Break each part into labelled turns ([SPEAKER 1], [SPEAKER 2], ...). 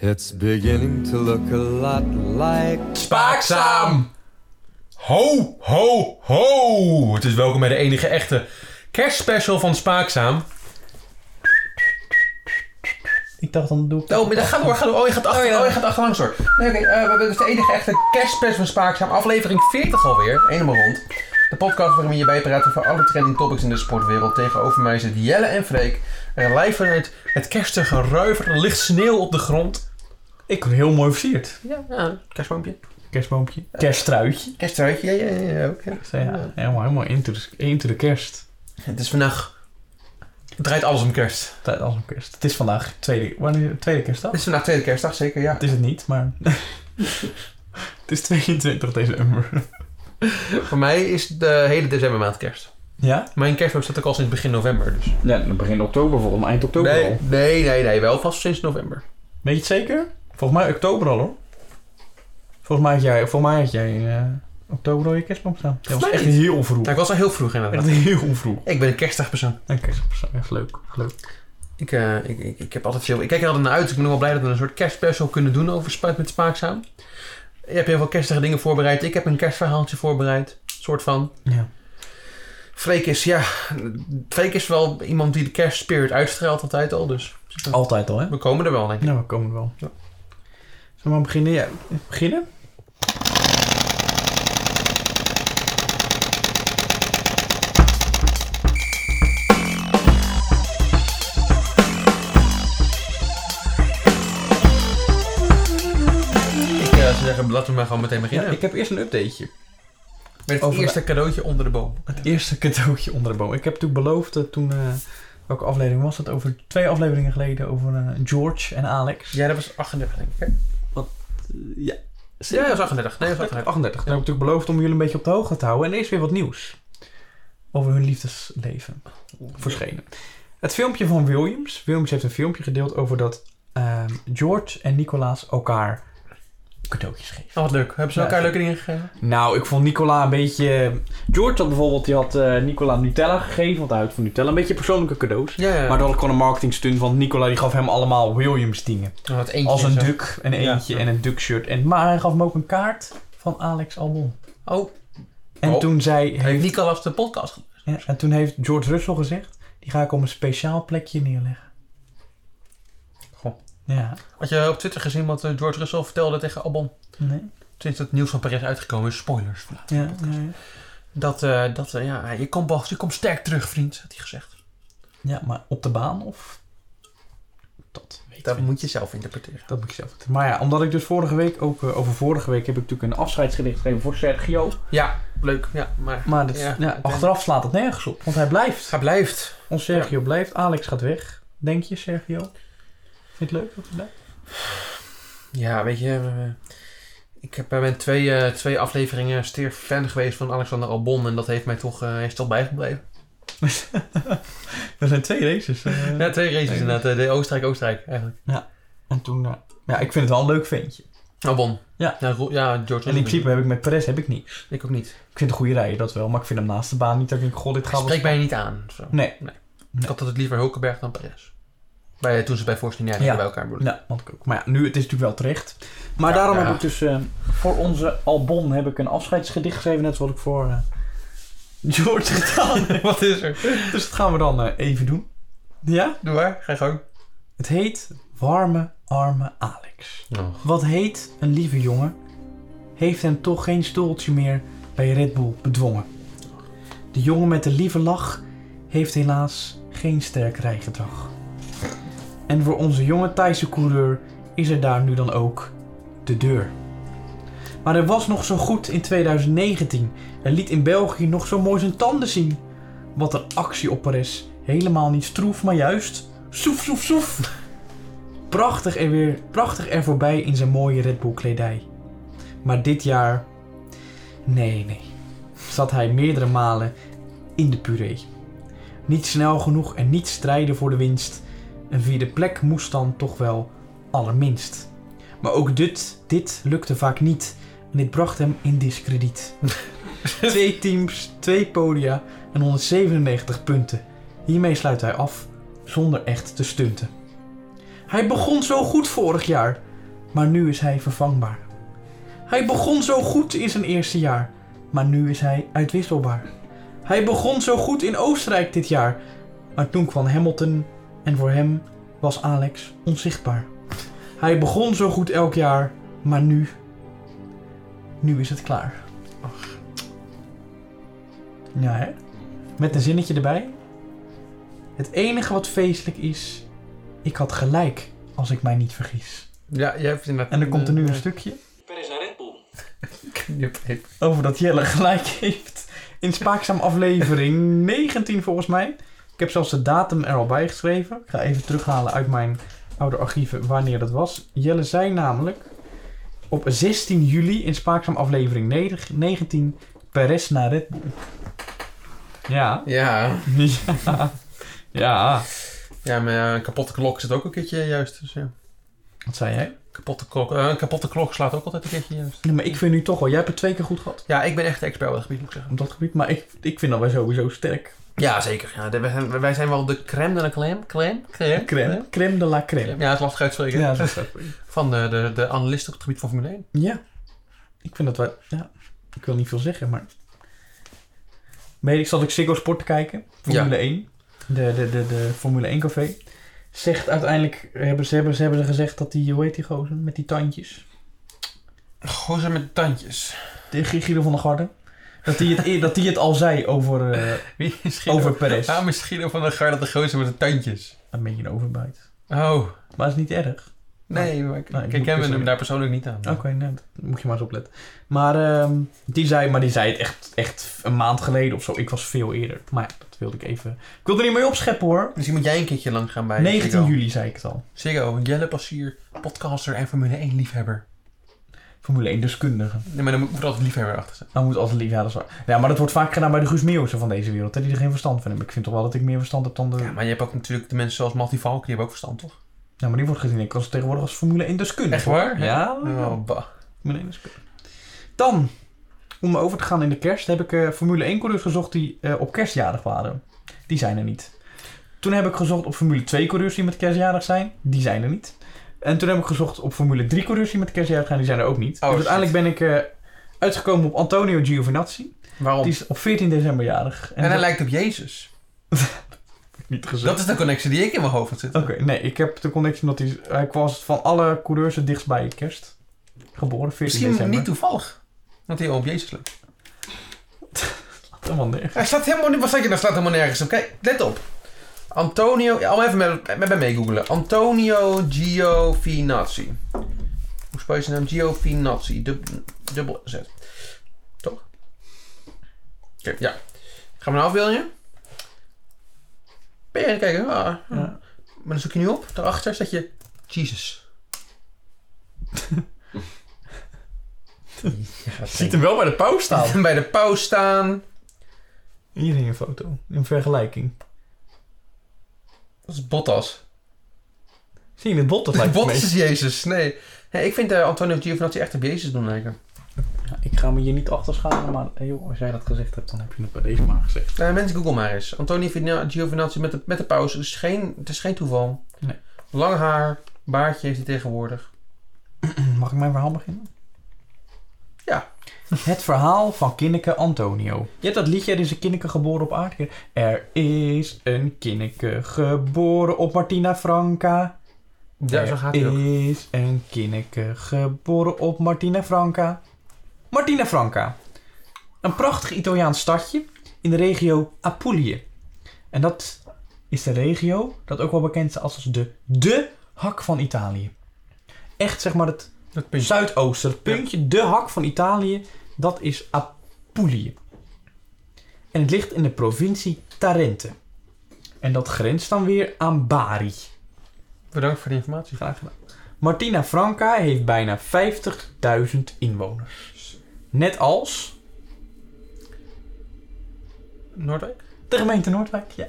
[SPEAKER 1] It's beginning to look a lot like.
[SPEAKER 2] Spaakzaam! Ho, ho, ho! Het is welkom bij de enige echte kerstspecial van Spaakzaam.
[SPEAKER 3] Ik dacht, dan doe ik...
[SPEAKER 2] Oh, maar dat gaat door, gaat door. Oh, je gaat, achter, oh, je gaat achterlangs door. Nee, oké, eh, we hebben dus de enige echte kerstspecial van Spaakzaam. Aflevering 40 alweer. Helemaal rond. De podcast waarin we je bijpraten over alle trending topics in de sportwereld. Tegenover mij zitten Jelle en Freek. En live vanuit het kerstige ruiver. Er ligt sneeuw op de grond.
[SPEAKER 3] Ik heel mooi versierd.
[SPEAKER 2] Ja, ja. Kerstboompje.
[SPEAKER 3] Kerstboompje. Kersttruitje.
[SPEAKER 2] Kerstruitje, ja, ja, ja. ja, oké.
[SPEAKER 3] Zo ja, helemaal, helemaal into, de, into de kerst.
[SPEAKER 2] Het is vandaag... Het draait alles om kerst.
[SPEAKER 3] Tijd als een kerst. Het is vandaag tweede, wanneer, tweede kerstdag.
[SPEAKER 2] Het is vandaag tweede kerstdag, zeker, ja.
[SPEAKER 3] Het is het niet, maar... het is 22 december.
[SPEAKER 2] Voor mij is de hele decembermaand kerst.
[SPEAKER 3] Ja?
[SPEAKER 2] Mijn kerstboom staat ook al sinds begin november, dus...
[SPEAKER 4] Ja, dan begin oktober volgens mij, eind oktober
[SPEAKER 2] Nee,
[SPEAKER 4] al.
[SPEAKER 2] nee, nee, nee, wel vast sinds november.
[SPEAKER 3] Weet je het zeker? Volgens mij oktober al, hoor. Volgens mij had jij, volgens mij had jij eh, oktober al je kerstboom staan. Dat was
[SPEAKER 2] mij
[SPEAKER 3] echt
[SPEAKER 2] niet.
[SPEAKER 3] heel vroeg.
[SPEAKER 2] Nou, ik was al heel vroeg
[SPEAKER 3] Echt
[SPEAKER 2] inderdaad.
[SPEAKER 3] heel vroeg.
[SPEAKER 2] Ik ben een kerstdagpersoon.
[SPEAKER 3] Een kerstboom, echt leuk. leuk.
[SPEAKER 2] Ik, eh, ik, ik, ik heb altijd veel... Ik kijk er altijd naar uit. dus Ik ben nog wel blij dat we een soort kerstspecial kunnen doen over Spuit met Spaakzaam. Je hebt heel veel kerstige dingen voorbereid. Ik heb een kerstverhaaltje voorbereid. soort van.
[SPEAKER 3] Ja.
[SPEAKER 2] Freek is, ja... Freek is wel iemand die de kerstspirit uitstraalt altijd al, dus...
[SPEAKER 3] Altijd al, hè?
[SPEAKER 2] We komen er wel, denk ik.
[SPEAKER 3] Nou, we komen wel.
[SPEAKER 2] Ja.
[SPEAKER 3] Zullen we maar beginnen? Ja, beginnen?
[SPEAKER 2] Ik eh, zou zeggen, laten we maar gewoon meteen
[SPEAKER 3] Ja,
[SPEAKER 2] beginnen.
[SPEAKER 3] ik heb eerst een updateje.
[SPEAKER 2] Met het
[SPEAKER 3] Over de-
[SPEAKER 2] eerste cadeautje onder de boom.
[SPEAKER 3] Het eerste cadeautje onder de boom. Ik heb natuurlijk beloofd eh, toen... eh, welke aflevering was dat? Over twee afleveringen geleden over eh, George en Alex.
[SPEAKER 2] Ja, dat was 38, denk ik. hè?
[SPEAKER 3] ja.
[SPEAKER 2] Ja, dat was 38. Nee, dat was 38.
[SPEAKER 3] 38. Dan heb ik natuurlijk beloofd om jullie een beetje op de hoogte te houden. En er is weer wat nieuws. Over hun liefdesleven. Verschenen. Het filmpje van Williams. Williams heeft een filmpje gedeeld over dat ehm, George en Nicolaas elkaar cadeautjes geven.
[SPEAKER 2] Oh, wat leuk. Hebben ze
[SPEAKER 3] Ja,
[SPEAKER 2] elkaar
[SPEAKER 3] ik-
[SPEAKER 2] leuke dingen gegeven?
[SPEAKER 3] Nou, ik vond Nicola een beetje...
[SPEAKER 4] George had bijvoorbeeld, die had eh, Nicola Nutella gegeven, want hij houdt van Nutella. Een beetje persoonlijke cadeaus.
[SPEAKER 2] Ja, ja.
[SPEAKER 3] Maar dat had gewoon een marketing stunt, want Nicola die gaf hem allemaal Williams dingen.
[SPEAKER 2] Oh, dat eentje
[SPEAKER 3] Als
[SPEAKER 2] en
[SPEAKER 3] een
[SPEAKER 2] zo.
[SPEAKER 3] duk, een
[SPEAKER 2] Ja.
[SPEAKER 3] eentje en een duck shirt. En, maar hij gaf hem ook een kaart van Alex Albon.
[SPEAKER 2] Oh,
[SPEAKER 3] En
[SPEAKER 2] Oh.
[SPEAKER 3] toen zei...
[SPEAKER 2] heeft Nicolas de podcast ge-
[SPEAKER 3] Ja, en toen heeft George Russell gezegd, die ga ik op een speciaal plekje neerleggen.
[SPEAKER 2] Goh.
[SPEAKER 3] Ja,
[SPEAKER 2] Had je op Twitter gezien wat eh, George Russell vertelde tegen Albon?
[SPEAKER 3] nee. Sinds
[SPEAKER 2] Sinds het nieuws van Perez uitgekomen is, spoilers. vandaag.
[SPEAKER 3] Ja, ja, ja.
[SPEAKER 2] Dat, eh, dat eh, ja, je komt, wel- je komt sterk terug, vriend, had hij gezegd.
[SPEAKER 3] ja, maar op de baan of... Dat weet ik
[SPEAKER 2] Dat
[SPEAKER 3] niet.
[SPEAKER 2] moet je zelf interpreteren.
[SPEAKER 3] Dat moet ik zelf vertellen. Maar ja, omdat ik dus vorige week ook... eh, over vorige week heb ik natuurlijk een
[SPEAKER 4] Afscheidsgedicht gegeven voor Sergio.
[SPEAKER 2] Ja, leuk. Ja, maar...
[SPEAKER 3] Maar dat,
[SPEAKER 2] Ja,
[SPEAKER 3] ja,
[SPEAKER 2] uiteindelijk.
[SPEAKER 3] achteraf slaat het nergens op. Want hij blijft.
[SPEAKER 2] Hij blijft.
[SPEAKER 3] Ons Sergio blijft. Alex gaat weg. Denk je, Sergio? Vind je het leuk dat hij blijft?
[SPEAKER 2] Ja, weet je... eh, ik heb, eh, ben twee, eh, twee afleveringen steer fan geweest van Alexander Albon. En dat heeft mij toch, eh, is toch bijgebleven.
[SPEAKER 3] Er zijn twee races. eh.
[SPEAKER 2] Ja, twee races
[SPEAKER 3] Nee.
[SPEAKER 2] inderdaad. eh, De Oostenrijk-Oostenrijk eigenlijk.
[SPEAKER 3] En toen... eh, ja, ik vind het wel een leuk ventje.
[SPEAKER 2] Albon.
[SPEAKER 3] Ja.
[SPEAKER 2] Oh, Ja, Ro- ja George
[SPEAKER 3] En in principe heb ik met Perez heb ik niks.
[SPEAKER 2] Ik ook niet.
[SPEAKER 3] Ik vind een goede rijden, dat wel. Maar ik vind hem naast de baan niet dat ik denk, god, dit gaat wel...
[SPEAKER 2] Spreek mij niet aan. of Zo.
[SPEAKER 3] Nee.
[SPEAKER 2] Ik had altijd liever Hulkenberg dan Perez. Bij, toen ze bij Force India
[SPEAKER 3] Ja.
[SPEAKER 2] bij elkaar bedoelen.
[SPEAKER 3] Ja, want ik ook. Maar ja, nu, het is natuurlijk wel terecht.
[SPEAKER 4] Maar daarom
[SPEAKER 2] ja.
[SPEAKER 4] heb ik dus eh, voor onze Albon heb ik een afscheidsgedicht geschreven, net zoals ik voor eh,
[SPEAKER 3] George gedaan.
[SPEAKER 2] Wat is er?
[SPEAKER 3] dus dat gaan we dan eh, even doen. Ja?
[SPEAKER 2] Doe maar, ga je gang.
[SPEAKER 3] Het heet Warme Arme Alex. Wat heet een lieve jongen, heeft hem toch geen stoeltje meer bij Red Bull bedwongen. De jongen met de lieve lach heeft helaas geen sterk rijgedrag. En voor onze jonge Thaise coureur is er daar nu dan ook de deur. Maar er was nog zo goed in 2019. Er liet in België nog zo mooi zijn tanden zien. Wat een actie op Perez. Helemaal niet stroef, maar juist soef, soef, soef prachtig er weer prachtig er voorbij in zijn mooie Red Bull kledij. Maar dit jaar, nee, nee, zat hij meerdere malen in de puree. Niet snel genoeg en niet strijden voor de winst. Een vierde plek moest dan toch wel allerminst. Maar ook dit, dit lukte vaak niet en dit bracht hem in discrediet. twee teams, twee podia en 197 punten. Hiermee sluit hij af zonder echt te stunten. Hij begon zo goed vorig jaar. maar nu is hij vervangbaar. Hij begon zo goed in zijn eerste jaar, maar nu is hij uitwisselbaar. Hij begon zo goed in Oostenrijk dit jaar, maar toen kwam Hamilton en voor hem was Alex onzichtbaar. Hij begon zo goed elk jaar, maar nu. Nu is het klaar. Ja, hè? Met een zinnetje erbij. Het enige wat feestelijk is, ik had gelijk als ik mij niet vergis.
[SPEAKER 2] Ja, jij hebt inderdaad...
[SPEAKER 3] En er komt er nu een
[SPEAKER 2] eh,
[SPEAKER 3] stukje
[SPEAKER 4] Perez en Red Bull.
[SPEAKER 2] knip-
[SPEAKER 3] over dat Jelle gelijk heeft. In Spaakzaam aflevering 19 volgens mij. Ik heb zelfs de datum er al bij geschreven. Ik ga even terughalen uit mijn oude archieven wanneer dat was. Jelle zei namelijk op 16 juli in Spaakzaam aflevering 9 19 Perez naar Red Bull. Ja.
[SPEAKER 2] Ja.
[SPEAKER 3] Ja. Ja.
[SPEAKER 2] Ja, maar ja, een kapotte klok zit ook een keertje juist. Dus ja.
[SPEAKER 3] Wat zei jij?
[SPEAKER 2] kapotte klok, eh, een kapotte klok slaat ook altijd een keertje juist.
[SPEAKER 3] Nee, maar ik vind nu toch wel, jij hebt het twee keer goed gehad
[SPEAKER 2] Ja, ik ben echt expert op dat gebied, moet ik zeggen.
[SPEAKER 3] op dat gebied. Maar ik, ik vind dat wij sowieso sterk.
[SPEAKER 2] Ja, zeker. Ja, de- wij, zijn, wij zijn wel de crème de la crème. Crème? Crème?
[SPEAKER 3] Crème. Crème de la crème.
[SPEAKER 2] Ja, dat is lastig uitspreken.
[SPEAKER 3] Ja, dat is ook.
[SPEAKER 2] Van de, de, de analisten op het gebied van Formule 1.
[SPEAKER 3] Ja. Ik vind dat wij... Ja. Ik wil niet veel zeggen, maar... Weet ik zat ik Ziggo Sport te kijken. Formule
[SPEAKER 2] Ja.
[SPEAKER 3] 1. De, de, de, de Formule 1 café. Zegt uiteindelijk... Hebben ze, hebben, ze, hebben ze gezegd dat die... Hoe heet die gozer? Met die tandjes.
[SPEAKER 2] Gozer met tandjes.
[SPEAKER 3] De Guido van der Garde. Dat die het, e- dat die het al zei over... eh
[SPEAKER 2] Wie is Guido?
[SPEAKER 3] over Perez.
[SPEAKER 2] Ja, misschien ook van de garde de gozer met de tandjes.
[SPEAKER 3] Een beetje een overbijt.
[SPEAKER 2] Oh,
[SPEAKER 3] Maar is niet erg.
[SPEAKER 2] nee. Maar nou, ik,
[SPEAKER 3] Nee,
[SPEAKER 2] ik
[SPEAKER 3] ik
[SPEAKER 2] ken
[SPEAKER 3] moet
[SPEAKER 2] hem
[SPEAKER 3] dus-
[SPEAKER 2] daar persoonlijk niet aan.
[SPEAKER 3] Oké, nee, dat moet je maar eens opletten. Maar, ehm, die, zei, maar die zei het echt, echt een maand geleden of zo. Ik was veel eerder. Maar ja, dat wilde ik even... Ik wilde er niet mee opscheppen hoor.
[SPEAKER 2] Misschien moet jij een keertje lang gaan bij
[SPEAKER 3] 19
[SPEAKER 2] Ziggo.
[SPEAKER 3] juli zei ik het al.
[SPEAKER 2] Ziggo, Jelle Passier, podcaster en Formule 1 liefhebber.
[SPEAKER 3] Formule 1 deskundige.
[SPEAKER 2] Nee, maar dan moet moet er altijd liefhebber achter zijn.
[SPEAKER 3] Dan moet altijd lief, ja, dat is waar. Ja, maar dat wordt vaak gedaan bij de Guus Meeuwsen van deze wereld. Hè, die er geen verstand van hebben. Ik vind toch wel dat ik meer verstand heb dan de...
[SPEAKER 2] Ja, maar je hebt ook natuurlijk de mensen zoals Matty Valk, die hebben ook verstand, toch?
[SPEAKER 3] Ja, maar die wordt gezien ik als tegenwoordig als Formule 1 deskundige.
[SPEAKER 2] Echt waar?
[SPEAKER 3] Ja.
[SPEAKER 2] Oh, bah.
[SPEAKER 3] Formule 1 deskundige. Dan, om over te gaan in de kerst, heb ik eh, Formule 1 coureurs gezocht die eh, op kerstjarig waren. Die zijn er niet. Toen heb ik gezocht op Formule 2 coureurs die met kerstjarig zijn. Die zijn er niet. En toen heb ik gezocht op Formule 3 coureurs die met kerstjarig zijn. Die zijn er ook
[SPEAKER 2] Oh,
[SPEAKER 3] niet. dus
[SPEAKER 2] shit.
[SPEAKER 3] uiteindelijk ben ik eh, uitgekomen op Antonio Giovinazzi.
[SPEAKER 2] Waarom?
[SPEAKER 3] Die is op 14 december jarig.
[SPEAKER 2] En hij
[SPEAKER 3] dat
[SPEAKER 2] lijkt op Jezus.
[SPEAKER 3] niet
[SPEAKER 2] Dat is de connectie Oh, die ik in mijn hoofd had zitten.
[SPEAKER 3] Oké, nee, ik heb de connectie omdat hij, hij was van alle coureurs het dichtst bij kerst. Geboren 14
[SPEAKER 2] Misschien
[SPEAKER 3] december.
[SPEAKER 2] niet toevallig. Want hij op Jezus lijkt.
[SPEAKER 3] Helemaal nergens.
[SPEAKER 2] Hij staat helemaal niet... Wat zeg je? Daar staat helemaal nergens op. Kijk, let op. Antonio... Ja, allemaal even met, met mij meegoogelen. Antonio Giovinazzi. Hoe spel je zijn naam? Giovinazzi. Dub, dubbel Z. Toch? Oké, ja. Gaan we naar afbeeldingen? Ben je aan het kijken? Ah,
[SPEAKER 3] Ja.
[SPEAKER 2] Maar dan zoek je nu op. Daarachter staat je... Jesus. ja,
[SPEAKER 3] Ziet hem wel bij de pauw staan.
[SPEAKER 2] bij de pauw staan.
[SPEAKER 3] Hier in een foto. In vergelijking.
[SPEAKER 2] Dat is Bottas.
[SPEAKER 3] Zie je het bot? Dat lijkt het
[SPEAKER 2] Bottas
[SPEAKER 3] meest.
[SPEAKER 2] is Jezus, nee. Ja, ik vind eh, Antonio Giovinazzi echt op Jezus doen lijken.
[SPEAKER 3] ik ga me hier niet achter scharen, maar eh, joh, als jij dat gezegd hebt, dan heb je het bij deze maar gezegd.
[SPEAKER 2] Eh, mensen, google maar eens. Antonio Vina- Giovinazzi met de, met de paus. Het is geen, het is geen toeval.
[SPEAKER 3] Nee.
[SPEAKER 2] Lang haar, baardje heeft hij tegenwoordig.
[SPEAKER 3] Hm, Mag ik mijn verhaal beginnen?
[SPEAKER 2] Ja.
[SPEAKER 3] Het verhaal van Kinneke Antonio. Je hebt dat liedje, er is een Kinneke geboren op aarde. Er is een Kinneke geboren op Martina Franca.
[SPEAKER 2] Ja,
[SPEAKER 3] er
[SPEAKER 2] zo gaat hij ook.
[SPEAKER 3] is een Kinneke geboren op Martina Franca. Martina Franca. Een prachtig Italiaans stadje in de regio Apulië. En dat is de regio dat ook wel bekend is als de, de hak van Italië. Echt zeg maar het
[SPEAKER 2] Dat puntje.
[SPEAKER 3] Zuidoosten, het puntje, de hak van Italië, dat is Apulië. En het ligt in de provincie Tarente. En dat grenst dan weer aan Bari.
[SPEAKER 2] Bedankt voor de informatie.
[SPEAKER 3] Graag gedaan. Martina Franca heeft bijna 50.000 inwoners. Net als
[SPEAKER 2] Noordwijk?
[SPEAKER 3] de gemeente Noordwijk. Ja,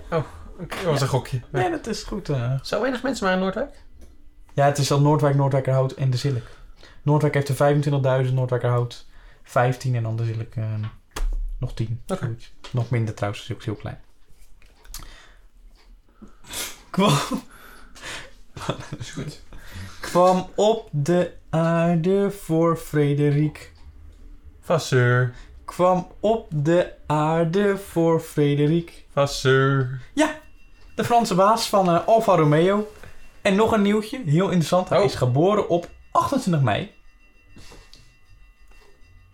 [SPEAKER 2] Oké, dat was een gokje.
[SPEAKER 3] nee, dat is goed. eh.
[SPEAKER 2] Zo weinig mensen maar in Noordwijk?
[SPEAKER 3] Ja, het is dan Noordwijk, Noordwijkerhout en de Zillik. Noordwijk heeft er 25.000, Noordwijkerhout 15 en dan de Zillik eh, nog 10.
[SPEAKER 2] Oké.
[SPEAKER 3] zoiets. Nog minder trouwens, het is ook heel klein. Kwam,
[SPEAKER 2] is goed.
[SPEAKER 3] kwam op de aarde voor Frederik.
[SPEAKER 2] Vasseur,
[SPEAKER 3] Kwam op de aarde voor Frederik.
[SPEAKER 2] vasseur.
[SPEAKER 3] De Franse baas van eh, Alfa Romeo. En nog een nieuwtje, heel interessant. Hij
[SPEAKER 2] Oh.
[SPEAKER 3] is geboren op 28 mei.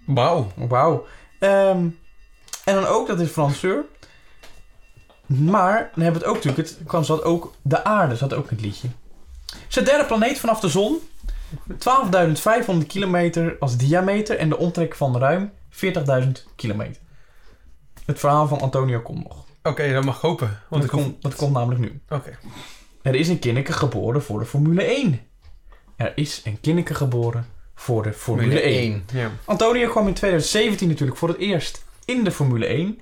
[SPEAKER 2] Wauw.
[SPEAKER 3] Wauw. Ehm, en dan ook, dat is Franseur. Maar dan hebben we het ook natuurlijk, het kwam zat ook de aarde, zat ook in het liedje. Het is de derde planeet vanaf de zon. 12.500 kilometer als diameter en de omtrek van ruim 40.000 kilometer. Het verhaal van Antonio komt nog.
[SPEAKER 2] Oké, dat mag ik hopen.
[SPEAKER 3] Want
[SPEAKER 2] Want
[SPEAKER 3] dat,
[SPEAKER 2] ik kom...
[SPEAKER 3] komt, dat komt namelijk nu.
[SPEAKER 2] Oké.
[SPEAKER 3] Er is een kinneke geboren voor de Formule 1. Er is een kinneke geboren voor de Formule, 1.
[SPEAKER 2] Ja.
[SPEAKER 3] Antonio kwam in 2017 natuurlijk voor het eerst in de Formule 1.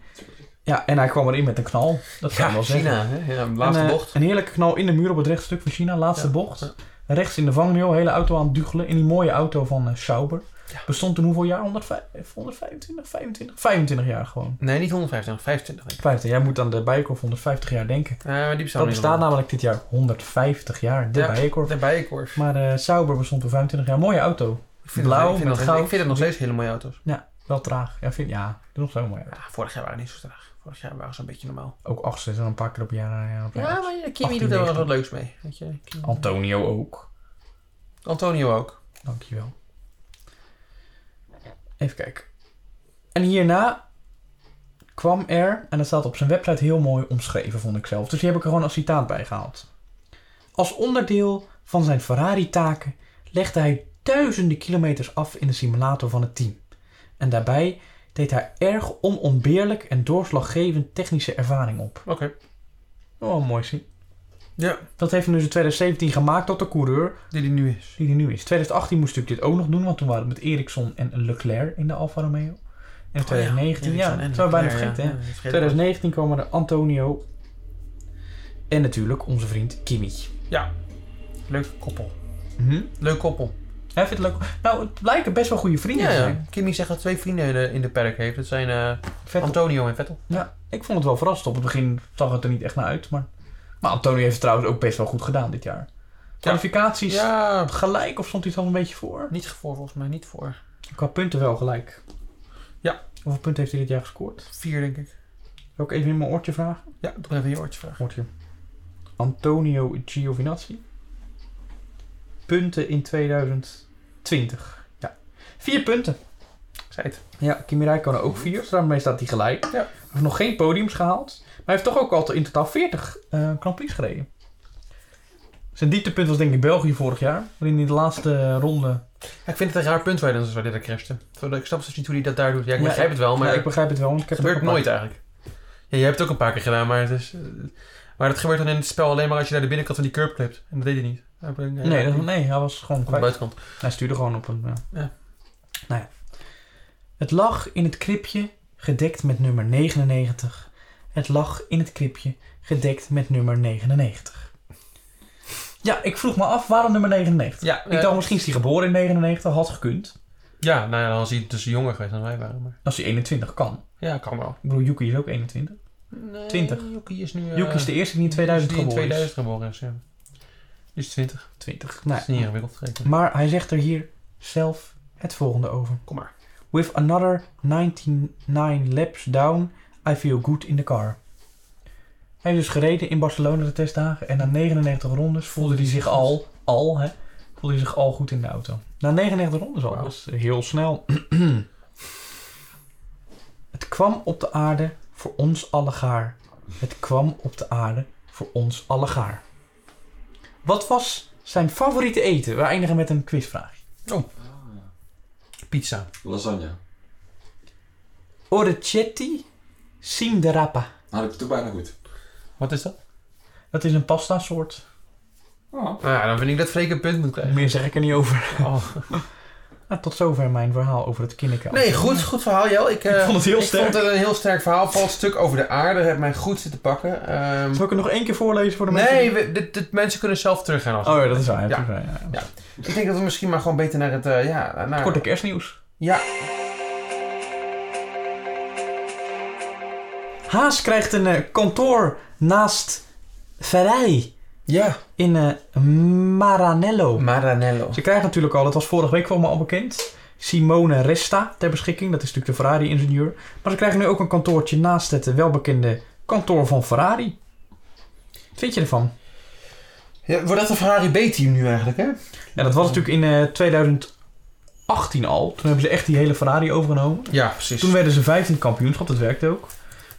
[SPEAKER 3] Ja, en hij kwam erin met een knal. Dat kan je wel
[SPEAKER 2] Ja,
[SPEAKER 3] zeggen.
[SPEAKER 2] China, hè? Ja, laatste
[SPEAKER 3] een, eh,
[SPEAKER 2] bocht.
[SPEAKER 3] Een heerlijke knal in de muur op het rechtstuk van China. Laatste
[SPEAKER 2] Ja.
[SPEAKER 3] bocht.
[SPEAKER 2] Ja.
[SPEAKER 3] Rechts in de vangrail. Hele auto aan het duggelen. In die mooie auto van eh, Sauber.
[SPEAKER 2] Ja.
[SPEAKER 3] Bestond toen hoeveel jaar? eh, 105, 125? 25? 25 jaar gewoon.
[SPEAKER 2] Nee, niet 125, 25 denk ik.
[SPEAKER 3] 50. Jij moet aan de Bijenkorf 150 jaar denken.
[SPEAKER 2] Ah, maar die bestaan
[SPEAKER 3] Dat
[SPEAKER 2] niet
[SPEAKER 3] bestaat
[SPEAKER 2] nog.
[SPEAKER 3] namelijk dit jaar 150 jaar. De
[SPEAKER 2] Ja.
[SPEAKER 3] Bijenkorf.
[SPEAKER 2] De bijenkorf.
[SPEAKER 3] Maar eh Sauber bestond toen 25 jaar. Mooie auto.
[SPEAKER 2] Ik vind
[SPEAKER 3] Blauw,
[SPEAKER 2] het, ik vind
[SPEAKER 3] met
[SPEAKER 2] het-
[SPEAKER 3] goud.
[SPEAKER 2] Ik vind het nog steeds hele mooie auto's.
[SPEAKER 3] Wel traag. Ja, vind, ja doe nog zo mooi. uit.
[SPEAKER 2] Ja, Ah, vorig jaar waren ze niet zo traag. Vorig jaar waren ze een beetje normaal.
[SPEAKER 3] Ook achtste en een paar keer op jaar. eh, op rij.
[SPEAKER 2] Ja, maar ja, Kimi doet er wel eens wat leuks mee. Weet je? Kimi-
[SPEAKER 3] Antonio ook.
[SPEAKER 2] Antonio ook.
[SPEAKER 3] Dankjewel. Even kijken. En hierna kwam er, en dat staat op zijn website heel mooi omschreven, vond ik zelf. Dus die heb ik er gewoon als citaat bij gehaald. Als onderdeel van zijn Ferrari-taken legde hij duizenden kilometers af in de simulator van het team. En daarbij deed hij erg onontbeerlijk en doorslaggevend technische ervaring op.
[SPEAKER 2] Oké.
[SPEAKER 3] Oh, mooi zien.
[SPEAKER 2] Ja,
[SPEAKER 3] Dat heeft hem dus in 2017 gemaakt tot de coureur
[SPEAKER 2] die die nu is.
[SPEAKER 3] die er nu is. 2018 moest natuurlijk dit ook nog doen, want toen waren het met Ericsson en Leclerc in de Alfa Romeo. En in 2019, ja, dat zijn we bijna vergeten. hè. 2019 komen er Antonio en natuurlijk onze vriend Kimi.
[SPEAKER 2] Leuk koppel.
[SPEAKER 3] Mhm.
[SPEAKER 2] Leuk koppel.
[SPEAKER 3] Hij vindt het leuk. Nou, het blijken best wel goede vrienden
[SPEAKER 2] Ja,
[SPEAKER 3] te
[SPEAKER 2] ja.
[SPEAKER 3] zijn.
[SPEAKER 2] Kimi zegt dat twee vrienden in de, in de perk heeft. Dat zijn eh,
[SPEAKER 3] Vet op-
[SPEAKER 2] Antonio en Vettel.
[SPEAKER 3] ja, ik vond het wel verrassend. Op het begin zag het er niet echt naar uit. Maar, maar Antonio heeft het trouwens ook best wel goed gedaan dit jaar. Kwalificaties
[SPEAKER 2] Ja,
[SPEAKER 3] gelijk of stond hij dan een beetje voor?
[SPEAKER 2] niet voor volgens mij. Niet voor.
[SPEAKER 3] Qua punten wel gelijk.
[SPEAKER 2] Ja.
[SPEAKER 3] Hoeveel punten heeft hij dit jaar gescoord?
[SPEAKER 2] Vier, denk ik.
[SPEAKER 3] Wil ik even in mijn oortje vragen?
[SPEAKER 2] Ja, doe even je oortje vragen.
[SPEAKER 3] Wordt hier. Antonio Giovinazzi. Punten in 2020. Ja. Vier punten.
[SPEAKER 2] Ik zei het.
[SPEAKER 3] Ja, Kimi Räikkönen ook vier. Dus daarmee staat hij gelijk.
[SPEAKER 2] Ja.
[SPEAKER 3] Heeft nog geen podiums gehaald. Maar hij heeft toch ook al in totaal 40 eh Grand Prix gereden. Zijn dieptepunt was denk ik België vorig jaar. Waarin hij de laatste ronde...
[SPEAKER 2] Ja, ik vind het een raar punt waar hij dan zo dit crashte. Zodat Ik snap dus niet hoe hij dat daar doet. Ja, ik
[SPEAKER 3] Ja,
[SPEAKER 2] begrijp het wel, Oh, maar
[SPEAKER 3] Ja, ik begrijp het wel. Want ik
[SPEAKER 2] het
[SPEAKER 3] heb
[SPEAKER 2] gebeurt
[SPEAKER 3] ook een
[SPEAKER 2] nooit
[SPEAKER 3] paar-
[SPEAKER 2] eigenlijk. Ja, je hebt het ook een paar keer gedaan, maar het is... eh, maar dat gebeurt dan in het spel alleen maar als je naar de binnenkant van die curb klipt. En dat deed hij niet. Hij brengt- hij
[SPEAKER 3] Nee,
[SPEAKER 2] raakt
[SPEAKER 3] dat,
[SPEAKER 2] niet
[SPEAKER 3] nee, hij was gewoon
[SPEAKER 2] Aan de
[SPEAKER 3] kwijt.
[SPEAKER 2] buitenkant.
[SPEAKER 3] Hij stuurde gewoon op een. Ja.
[SPEAKER 2] Ja.
[SPEAKER 3] Nou ja. Het lag in het kripje gedekt met nummer 99. Het lag in het kripje gedekt met nummer 99. Ja, ik vroeg me af waarom nummer 99.
[SPEAKER 2] Ja,
[SPEAKER 3] ik
[SPEAKER 2] eh,
[SPEAKER 3] dacht misschien is hij geboren in 99, had gekund.
[SPEAKER 2] Ja, nou ja, dan is hij dus jonger geweest dan wij waren. Maar...
[SPEAKER 3] Als hij 21 kan.
[SPEAKER 2] Ja, kan wel.
[SPEAKER 3] Ik bedoel, Yuki is ook 21.
[SPEAKER 2] Nee,
[SPEAKER 3] 20.
[SPEAKER 2] Yuki is nu... eh,
[SPEAKER 3] Yuki is de eerste die in 2000
[SPEAKER 2] die in
[SPEAKER 3] geboren dus-
[SPEAKER 2] 2000 geboren is, ja. Die is 20.
[SPEAKER 3] is. 20. Nou,
[SPEAKER 2] Dat is
[SPEAKER 3] ja.
[SPEAKER 2] niet ingewikkeld gekeken.
[SPEAKER 3] Maar hij zegt er hier zelf het volgende over.
[SPEAKER 2] Kom maar.
[SPEAKER 3] With another 99 laps down, I feel good in the car. Hij heeft dus gereden in Barcelona de testdagen en na 99 rondes voelde hij zich al, al hè, voelde hij zich al goed in de auto. Na 99 rondes al,
[SPEAKER 2] Wauw.
[SPEAKER 3] dat is heel snel. Het kwam op de aarde voor ons allegaar. Het kwam op de aarde voor ons allegaar. Wat was zijn favoriete eten? We eindigen met een quizvraag.
[SPEAKER 2] Pizza.
[SPEAKER 5] Lasagne.
[SPEAKER 3] Orecchietti Sinderappa.
[SPEAKER 5] Had ik het ook bijna goed.
[SPEAKER 2] Wat is dat?
[SPEAKER 3] Dat is een pasta soort.
[SPEAKER 2] Nou ja, dan vind ik dat Freek een punt moet krijgen.
[SPEAKER 3] Meer zeg ik er niet over.
[SPEAKER 2] Oh.
[SPEAKER 3] Nou, tot zover mijn verhaal over het kinderkamer.
[SPEAKER 2] Nee, goed, goed verhaal, Jel. Ik, eh,
[SPEAKER 3] Ik vond het heel sterk.
[SPEAKER 2] Ik vond het een heel sterk verhaal. Valt stuk over de aarde. Heb mij goed zitten pakken. Ehm,
[SPEAKER 3] Zal ik het nog één keer voorlezen voor de mensen?
[SPEAKER 2] nee,
[SPEAKER 3] die-
[SPEAKER 2] we- dit, dit- mensen kunnen zelf teruggaan. Als...
[SPEAKER 3] Oh ja, dat is waar.
[SPEAKER 2] Ja.
[SPEAKER 3] Ja. Ja. ja.
[SPEAKER 2] Ik denk dat we misschien maar gewoon beter naar het... eh, ja, naar...
[SPEAKER 3] Korte kerstnieuws.
[SPEAKER 2] Ja.
[SPEAKER 3] Haas krijgt een eh, kantoor naast Ferrari.
[SPEAKER 2] Ja.
[SPEAKER 3] in eh, Maranello.
[SPEAKER 2] Maranello.
[SPEAKER 3] Ze krijgen natuurlijk al, dat was vorige week wel al bekend, Simone Resta ter beschikking. Dat is natuurlijk de Ferrari-ingenieur. Maar ze krijgen nu ook een kantoortje naast het eh, welbekende kantoor van Ferrari. Wat vind je ervan?
[SPEAKER 2] Ja, wordt dat een Ferrari B-team nu eigenlijk, hè?
[SPEAKER 3] Ja, dat was natuurlijk in eh, 2018 al. Toen hebben ze echt die hele Ferrari overgenomen.
[SPEAKER 2] Ja, precies.
[SPEAKER 3] Toen werden ze 15 kampioenschap, dat werkte ook.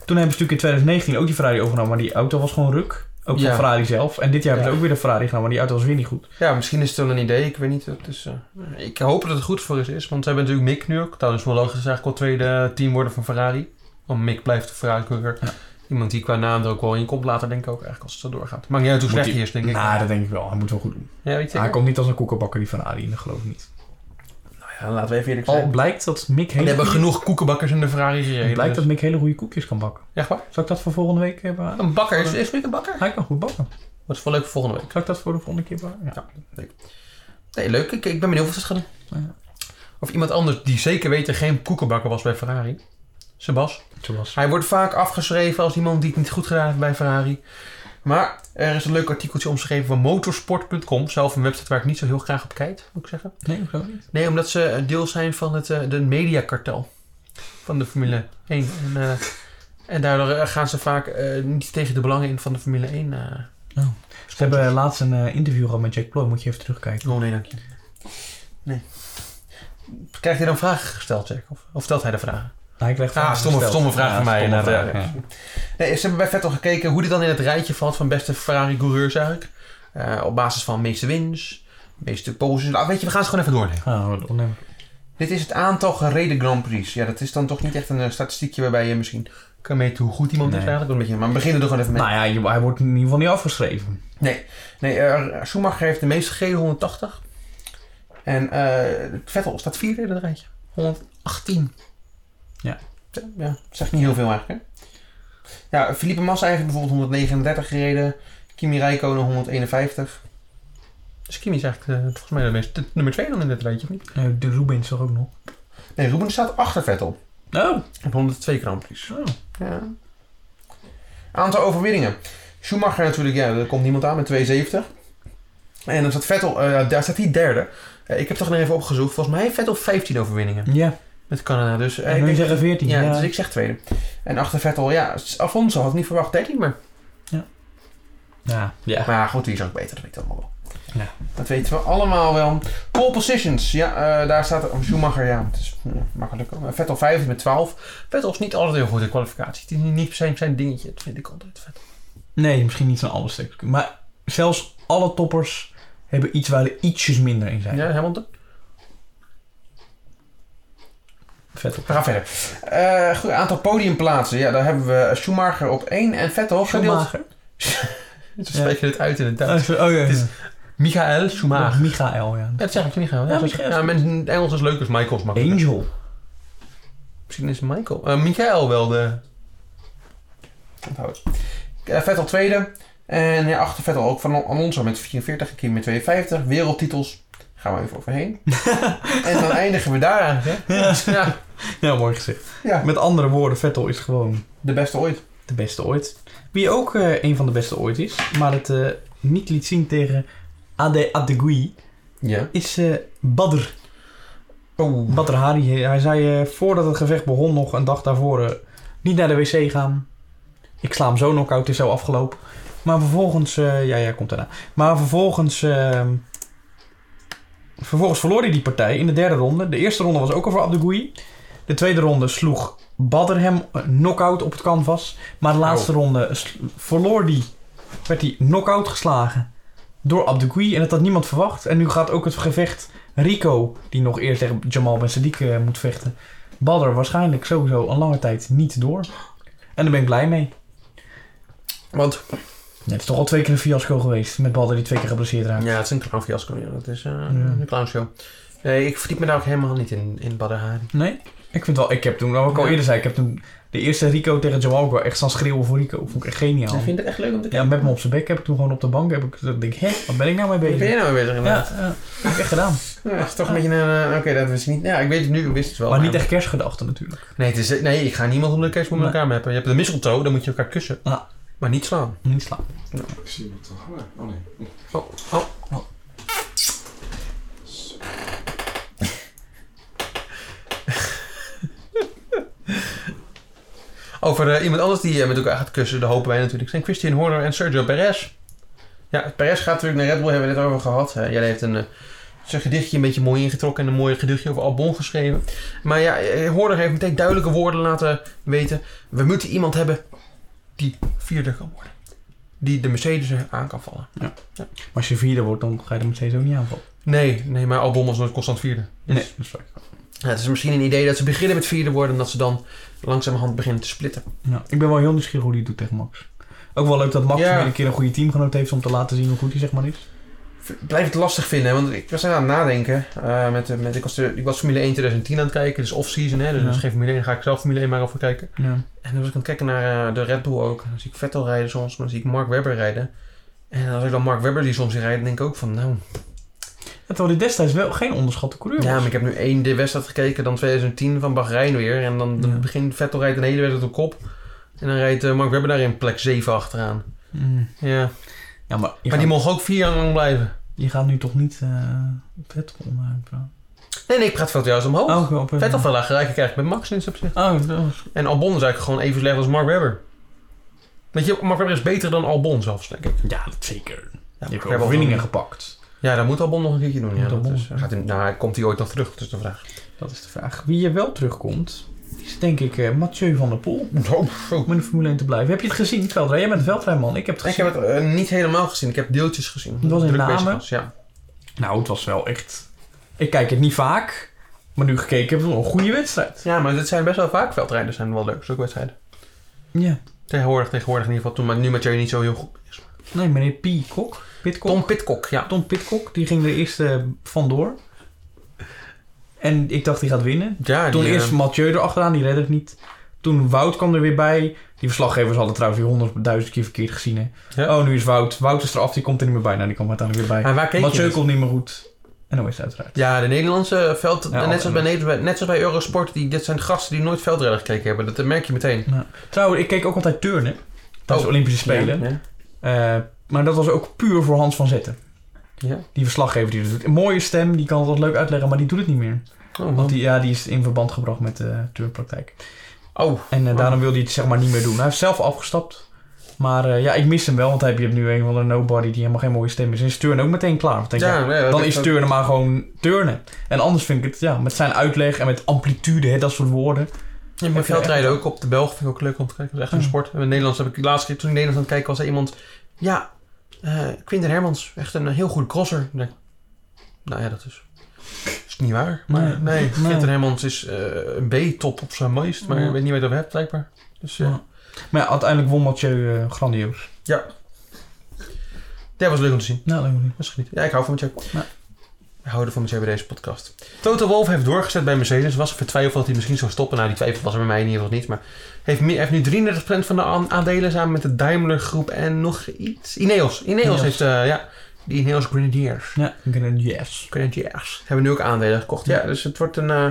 [SPEAKER 3] Toen hebben ze natuurlijk in 2019 ook die Ferrari overgenomen, maar die auto was gewoon ruk. Ook van
[SPEAKER 2] Ja.
[SPEAKER 3] Ferrari zelf. En dit jaar hebben
[SPEAKER 2] Ja.
[SPEAKER 3] ze ook weer de Ferrari genomen, maar die auto was weer niet goed.
[SPEAKER 2] Ja, misschien is het wel een idee. Ik weet niet. Het is, eh, ik hoop dat het goed voor is, is. Want ze hebben natuurlijk Mick nu ook. Trouwens, wel logisch is eigenlijk al tweede team worden van Ferrari. Want Mick blijft de Ferrari-coureur.
[SPEAKER 3] Ja.
[SPEAKER 2] Iemand die qua naam er ook wel in komt later, denk ik ook. Eigenlijk als het zo doorgaat. Maakt niet uit hoe
[SPEAKER 3] Moet
[SPEAKER 2] slecht
[SPEAKER 3] hij-
[SPEAKER 2] hij is, denk ik.
[SPEAKER 3] Nou, dat denk ik wel. Hij moet wel goed doen.
[SPEAKER 2] ja, weet je.
[SPEAKER 3] Hij komt niet als een koekenbakker, die Ferrari, dat geloof ik niet.
[SPEAKER 2] nou Ja, laten we even eerlijk
[SPEAKER 3] Al blijkt dat Mick
[SPEAKER 2] Oh, We
[SPEAKER 3] hele
[SPEAKER 2] hebben
[SPEAKER 3] goede,
[SPEAKER 2] genoeg koekenbakkers in de Ferrari gereden.
[SPEAKER 3] blijkt
[SPEAKER 2] dus-
[SPEAKER 3] dat Mick hele goede koekjes kan bakken.
[SPEAKER 2] Echt waar?
[SPEAKER 3] Zal ik dat voor volgende week eh, bewaren?
[SPEAKER 2] Een bakker. Is, is Mick een bakker?
[SPEAKER 3] Hij kan goed bakken.
[SPEAKER 2] Wat is wel leuk voor volgende week.
[SPEAKER 3] Zal ik dat voor de volgende keer bewaren? Ja.
[SPEAKER 2] Nee, leuk. Ik, ik ben benieuwd wat ze het gaan doen.
[SPEAKER 3] Ja.
[SPEAKER 2] Of iemand anders die zeker weten geen koekenbakker was bij Ferrari. Sebas.
[SPEAKER 3] Zoals.
[SPEAKER 2] Hij wordt vaak afgeschreven als iemand die het niet goed gedaan heeft bij Ferrari. Maar er is een leuk artikeltje omschreven van motorsport.com. Zelf een website waar ik niet zo heel graag op kijk, moet ik zeggen.
[SPEAKER 3] Nee, ik geloof niet.
[SPEAKER 2] Nee, omdat ze een deel zijn van het eh, de mediakartel van de Formule 1. En, eh, en daardoor eh, gaan ze vaak eh, niet tegen de belangen in van de Formule 1. eh.
[SPEAKER 3] Oh. Ze hebben laatst een eh, interview gehad met Jack Ploy. Moet je even terugkijken.
[SPEAKER 2] Oh nee, dank je. Nee. Krijgt hij dan vragen gesteld, Jack? Of, of stelt hij de vragen?
[SPEAKER 3] Hij krijgt
[SPEAKER 2] Ah,
[SPEAKER 3] vragen
[SPEAKER 2] stomme,
[SPEAKER 3] gesteld.
[SPEAKER 2] stomme vraag
[SPEAKER 3] Ja,
[SPEAKER 2] van mij.
[SPEAKER 3] stomme
[SPEAKER 2] inderdaad,
[SPEAKER 3] vraag, ja.
[SPEAKER 2] Nee, ze hebben bij Vettel gekeken hoe dit dan in het rijtje valt van beste Ferrari-coureurs eigenlijk. Eh, op basis van meeste wins, meeste poses. Nou, weet je, we gaan ze gewoon even doornemen.
[SPEAKER 3] Ah, wat onnemen.
[SPEAKER 2] Dit is het aantal gereden Grand Prix. Ja, dat is dan toch niet echt een eh, statistiekje waarbij je misschien kan meten hoe goed iemand
[SPEAKER 3] Nee.
[SPEAKER 2] is eigenlijk. Een beetje, maar we beginnen er gewoon even mee.
[SPEAKER 3] Nou ja, je- hij wordt in ieder geval niet afgeschreven.
[SPEAKER 2] Nee, eh, Schumacher heeft de meeste gereden, 180. En eh, Vettel staat vierde in het rijtje. 118.
[SPEAKER 3] Ja.
[SPEAKER 2] Ja, dat zegt niet heel veel eigenlijk, hè? Ja, Felipe Massa heeft bijvoorbeeld 139 gereden. Kimi Räikkönen 151. Dus Kimi is eigenlijk eh, volgens mij de meest, de nummer 2 dan in dit rijtje, of niet?
[SPEAKER 3] Eh, De Rubens toch ook nog?
[SPEAKER 2] Nee, Ruben staat achter Vettel.
[SPEAKER 3] Oh.
[SPEAKER 2] Op 102 Grand Prix.
[SPEAKER 3] Oh.
[SPEAKER 2] Ja. Aantal overwinningen. Schumacher natuurlijk, ja, er komt niemand aan met 270. En dan staat Vettel, eh, daar staat hij derde. Eh, ik heb toch nog even opgezocht. Volgens mij heeft Vettel 15 overwinningen
[SPEAKER 3] Ja,
[SPEAKER 2] met Canada. Dus, eh,
[SPEAKER 3] en
[SPEAKER 2] ik
[SPEAKER 3] nu
[SPEAKER 2] denk-
[SPEAKER 3] zeggen 14.
[SPEAKER 2] ja,
[SPEAKER 3] Ja,
[SPEAKER 2] dus ik zeg tweede. En achter Vettel, ja, Alfonso had ik niet verwacht 13 meer.
[SPEAKER 3] ja. ja.
[SPEAKER 2] Maar goed, die is ook beter, dat weet ik allemaal wel.
[SPEAKER 3] Ja.
[SPEAKER 2] Dat weten we allemaal wel. Pole positions, ja, eh, daar staat oh, Schumacher, ja, het is ja, makkelijk. Eh, Vettel 5 met 12. Vettel is niet altijd heel goed in kwalificatie. Het is niet per se zijn dingetje, dat vind ik altijd vet.
[SPEAKER 3] Nee, misschien niet zo'n alle stuk. Maar zelfs alle toppers hebben iets waar er ietsjes minder in zijn.
[SPEAKER 2] Ja, Hamilton?
[SPEAKER 3] Vet op.
[SPEAKER 2] We gaan verder. Eh, goed, aantal podiumplaatsen. Ja, daar hebben we Schumacher op 1 en Vettel gedeeld.
[SPEAKER 3] Schumacher.
[SPEAKER 2] Ze spreken het uit in het
[SPEAKER 3] Oh,
[SPEAKER 2] Duits.
[SPEAKER 3] zo- oh ja.
[SPEAKER 2] Het is Michael Schumacher.
[SPEAKER 3] Michael, ja.
[SPEAKER 2] Ja, dat zeg ik niet gaan.
[SPEAKER 3] Ja,
[SPEAKER 2] Ja, zo-
[SPEAKER 3] Michael.
[SPEAKER 2] ja, mensen, Engels is leuk, dus Michael is makkelijk.
[SPEAKER 3] Angel.
[SPEAKER 2] Misschien is Michael. eh, Michael wel de. Onthoud. Eh, Vettel tweede. En ja, achter Vettel ook van Alonso met 44 en Kim met 52. Wereldtitels. Gaan we even overheen. en dan eindigen we daar eigenlijk. Hè?
[SPEAKER 3] Ja.
[SPEAKER 2] Ja,
[SPEAKER 3] Ja, mooi gezegd.
[SPEAKER 2] ja,
[SPEAKER 3] Met andere woorden, Vettel is gewoon
[SPEAKER 2] de beste ooit.
[SPEAKER 3] de beste ooit. Wie ook eh, een van de beste ooit is, maar het eh, niet liet zien tegen Ade Adegui,
[SPEAKER 2] Ja.
[SPEAKER 3] is eh Badr.
[SPEAKER 2] Oh.
[SPEAKER 3] Badr Hari. Hij zei eh, voordat het gevecht begon nog een dag daarvoor eh, niet naar de wc gaan. Ik sla hem zo knock-out, het is zo afgelopen. Maar vervolgens... eh, ja, ja, komt daarna. Maar vervolgens... eh, vervolgens verloor hij die partij in de derde ronde. De eerste ronde was ook al voor Abdegoui. De tweede ronde sloeg Badr hem eh, knock-out op het canvas. Maar de laatste ronde s- verloor die, werd hij knock-out geslagen door Abdegoui. En dat had niemand verwacht. En nu gaat ook het gevecht Rico, die nog eerst tegen Jamal Ben Sadiq eh, moet vechten. Badr waarschijnlijk sowieso een lange tijd niet door. En daar ben ik blij mee.
[SPEAKER 2] Want.
[SPEAKER 3] Ja, het is toch al twee keer een fiasco geweest met Badr die twee keer geblesseerd raakt.
[SPEAKER 2] Ja, het is een clown fiasco. Ja. Dat is eh, een clownshow. Nee, ik verdiep me daar ook helemaal niet in, in Badr Hari.
[SPEAKER 3] Nee? Ik vind wel, ik heb toen, wat ik al
[SPEAKER 2] Ja.
[SPEAKER 3] eerder zei, ik heb toen de eerste Rico tegen Jamal ook wel echt staan schreeuwen voor Rico. Vond ik echt geniaal.
[SPEAKER 2] Ik vind het echt leuk om te
[SPEAKER 3] Ja, met hem op zijn bek heb ik toen gewoon op de bank. Heb ik dat ik denk, hé, wat ben ik nou mee
[SPEAKER 2] Wat ben
[SPEAKER 3] bezig?
[SPEAKER 2] je nou mee bezig
[SPEAKER 3] Ja,
[SPEAKER 2] inderdaad?
[SPEAKER 3] ja, heb ik echt gedaan.
[SPEAKER 2] Ja. het is toch een beetje een... eh, Oké, dat wist ik niet. Ja, ik weet het nu, ik wist het wel.
[SPEAKER 3] Maar niet echt kerstgedachten natuurlijk.
[SPEAKER 2] Nee, het is, nee, ik ga niemand onder de kerstboom met
[SPEAKER 3] Nee.
[SPEAKER 2] elkaar mappen. Je hebt de mistletoe, dan moet je elkaar kussen.
[SPEAKER 3] Ah.
[SPEAKER 2] Maar niet slaan.
[SPEAKER 3] Niet slaan.
[SPEAKER 5] Ik zie iemand toch. Oh, nee. Oh nee.
[SPEAKER 2] Oh, oh. Over eh, iemand anders die eh, met elkaar gaat kussen, daar hopen wij natuurlijk, zijn Christian Horner en Sergio Perez. Ja, Perez gaat natuurlijk naar Red Bull, hebben we het over gehad. Eh, jij heeft een, eh, zijn gedichtje een beetje mooi ingetrokken en een mooi gedichtje over Albon geschreven. Maar ja, eh, Horner heeft meteen duidelijke woorden laten weten. We moeten iemand hebben die vierde kan worden. Die de Mercedes aan kan vallen.
[SPEAKER 3] Maar als je vierde wordt, dan ga je er meteen ook niet aanvallen.
[SPEAKER 2] Nee, nee, maar Albon was nooit constant vierde. Dus
[SPEAKER 3] Nee, dat is waar.
[SPEAKER 2] ja, het is misschien een idee dat ze beginnen met vierde worden en dat ze dan langzamerhand beginnen te splitten.
[SPEAKER 3] Ja, ik ben wel heel nieuwsgierig hoe die het doet tegen Max. Ook wel leuk dat Max
[SPEAKER 2] Ja.
[SPEAKER 3] weer een keer een goede teamgenoot heeft om te laten zien hoe goed hij zeg maar is.
[SPEAKER 2] Ik blijf het lastig vinden, want ik was aan het nadenken. eh, met, de- met, ik, was de- ik was Formule 1 2010 aan het kijken, dus off-season, hè, dus
[SPEAKER 3] Ja.
[SPEAKER 2] dat is geen Formule 1, ga ik zelf Formule 1 maar over kijken.
[SPEAKER 3] Ja.
[SPEAKER 2] En dan was ik aan het kijken naar eh, de Red Bull ook. Dan zie ik Vettel rijden soms, maar dan zie ik Mark Webber rijden. En als ik dan Mark Webber die soms rijdt, dan denk ik ook van, nou,
[SPEAKER 3] En terwijl hij destijds wel geen onderschatte coureur
[SPEAKER 2] Ja,
[SPEAKER 3] was.
[SPEAKER 2] maar ik heb nu één de wedstrijd gekeken, dan 2010 van Bahrein weer. En dan, dan
[SPEAKER 3] Ja.
[SPEAKER 2] begint Vettel rijdt een hele wedstrijd op kop. En dan rijdt eh, Mark Webber daar in plek 7 achteraan.
[SPEAKER 3] Mm.
[SPEAKER 2] Ja.
[SPEAKER 3] Ja, maar je,
[SPEAKER 2] Maar
[SPEAKER 3] gaat,
[SPEAKER 2] die mocht ook vier jaar lang blijven.
[SPEAKER 3] je gaat nu toch niet eh Vettel onderuit praten?
[SPEAKER 2] Nee, nee, ik praat veel juist omhoog.
[SPEAKER 3] oké, op-
[SPEAKER 2] Vettel veel lager eigenlijk eigenlijk met Max in dit opzicht.
[SPEAKER 3] Oh, dat was-
[SPEAKER 2] En Albon is eigenlijk gewoon even slecht als Mark Webber. Weet je, Mark Webber is beter dan Albon zelfs, denk ik.
[SPEAKER 3] ja, dat zeker.
[SPEAKER 2] Ja,
[SPEAKER 3] Nou, je hebt
[SPEAKER 2] Webber-
[SPEAKER 3] overwinningen gepakt.
[SPEAKER 2] Ja, dan moet Albon nog een keertje doen. Ja,
[SPEAKER 3] Moet
[SPEAKER 2] dat
[SPEAKER 3] Albon.
[SPEAKER 2] is, gaat hij, nou, komt hij ooit nog terug, dat is de vraag.
[SPEAKER 3] Dat is de vraag. Wie er wel terugkomt, is denk ik eh, Mathieu van der Poel.
[SPEAKER 2] Oh, zo.
[SPEAKER 3] Om in de Formule 1 te blijven. Heb je het gezien, Veldrij? Jij bent veldrijman. Ik heb het
[SPEAKER 2] Ik
[SPEAKER 3] gezien.
[SPEAKER 2] heb het eh, niet helemaal gezien, ik heb deeltjes gezien.
[SPEAKER 3] Het was in
[SPEAKER 2] Druk bezig
[SPEAKER 3] Namen.
[SPEAKER 2] was, Ja.
[SPEAKER 3] Nou, het was wel echt... Ik kijk het niet vaak, maar nu gekeken hebben we wel een goede wedstrijd.
[SPEAKER 2] ja, maar dit zijn best wel vaak veldrijders, zijn wel leuk, zulke wedstrijden.
[SPEAKER 3] Ja.
[SPEAKER 2] Tegenwoordig, tegenwoordig in ieder geval. Toen, maar nu met jullie niet zo heel goed is.
[SPEAKER 3] Nee, meneer P. Kok. Pitcock.
[SPEAKER 2] Tom Pitcock, ja.
[SPEAKER 3] Tom Pitcock, die ging er eerst eh, vandoor. En ik dacht, die gaat winnen.
[SPEAKER 2] ja
[SPEAKER 3] Toen
[SPEAKER 2] die, eh,
[SPEAKER 3] eerst Mathieu erachteraan, die redde het niet. Toen Wout kwam er weer bij. Die verslaggevers hadden trouwens weer honderdduizend keer verkeerd gezien. Hè.
[SPEAKER 2] Ja.
[SPEAKER 3] Oh, nu is Wout. Wout is eraf, die komt er niet meer bij. Nou, die komt uiteindelijk weer bij.
[SPEAKER 2] maar waar keek je
[SPEAKER 3] Mathieu
[SPEAKER 2] dit?
[SPEAKER 3] komt niet meer goed. En dan is het uiteraard.
[SPEAKER 2] Ja, de Nederlandse veld...
[SPEAKER 3] Ja,
[SPEAKER 2] net, zoals bij,
[SPEAKER 3] en-
[SPEAKER 2] Nederland- net zoals bij Eurosport, die, dit zijn gasten die nooit veldrijden gekeken hebben. Dat eh, merk je meteen.
[SPEAKER 3] Trouwens, ik keek ook altijd turnen. Tijdens
[SPEAKER 2] Oh.
[SPEAKER 3] de Olympische Spelen.
[SPEAKER 2] Ja, ja.
[SPEAKER 3] Eh, maar dat was ook puur voor Hans van Zetten.
[SPEAKER 2] Ja.
[SPEAKER 3] Die verslaggever die dat doet. Een mooie stem, die kan het wat leuk uitleggen, maar die doet het niet meer.
[SPEAKER 2] Oh, man.
[SPEAKER 3] Want die, ja, die is in verband gebracht met eh, de turnpraktijk.
[SPEAKER 2] oh,
[SPEAKER 3] En eh,
[SPEAKER 2] Oh.
[SPEAKER 3] daarom wil hij het zeg maar niet meer doen. Hij heeft zelf afgestapt. Maar eh, ja, ik mis hem wel, want hij heeft nu een van de nobody die helemaal geen mooie stem is. En is turn ook meteen klaar. Want ik denk, ja,
[SPEAKER 2] ja, ja,
[SPEAKER 3] dan
[SPEAKER 2] dat-
[SPEAKER 3] is turnen maar gewoon turnen. En anders vind ik het, ja, met zijn uitleg en met amplitude, hè, dat soort woorden.
[SPEAKER 2] Ja, maar veldrijden ook op de Belg vind ik ook leuk om te kijken. Dat is echt een
[SPEAKER 3] Ja.
[SPEAKER 2] sport. En in Nederland heb ik de laatste keer toen ik in Nederland aan het kijken was, zei iemand... Ja, eh Quinten Hermans, echt een heel goede crosser. Ik denk, nou ja, dat is... Is niet waar? Maar nee,
[SPEAKER 3] Nee. Nee.
[SPEAKER 2] Quinten Hermans is eh, een B-top op zijn meest, maar
[SPEAKER 3] Ja.
[SPEAKER 2] ik weet niet waar je het over hebt, blijkbaar. Dus ja,
[SPEAKER 3] Ja. Maar ja, uiteindelijk won Mathieu eh, grandioos.
[SPEAKER 2] dat was leuk om te zien.
[SPEAKER 3] Nou, dat moet niet.
[SPEAKER 2] Misschien niet. Ja, ik hou van Mathieu.
[SPEAKER 3] Ja.
[SPEAKER 2] We houden van Mathieu bij deze podcast. Toto Wolf heeft doorgezet bij Mercedes. Was vertwijfeld dat hij misschien zou stoppen. Nou, die twijfel was er bij mij in ieder geval niet. Maar heeft, meer- heeft nu 33% van de aan- aandelen samen met de Daimler Groep en nog iets. Ineos. Ineos,
[SPEAKER 3] Ineos.
[SPEAKER 2] heeft, eh, ja, die Ineos Grenadiers.
[SPEAKER 3] Ja, ik ben een yes.
[SPEAKER 2] Grenadiers. Hebben nu ook aandelen gekocht. Ja,
[SPEAKER 3] Ja.
[SPEAKER 2] dus het wordt een... eh,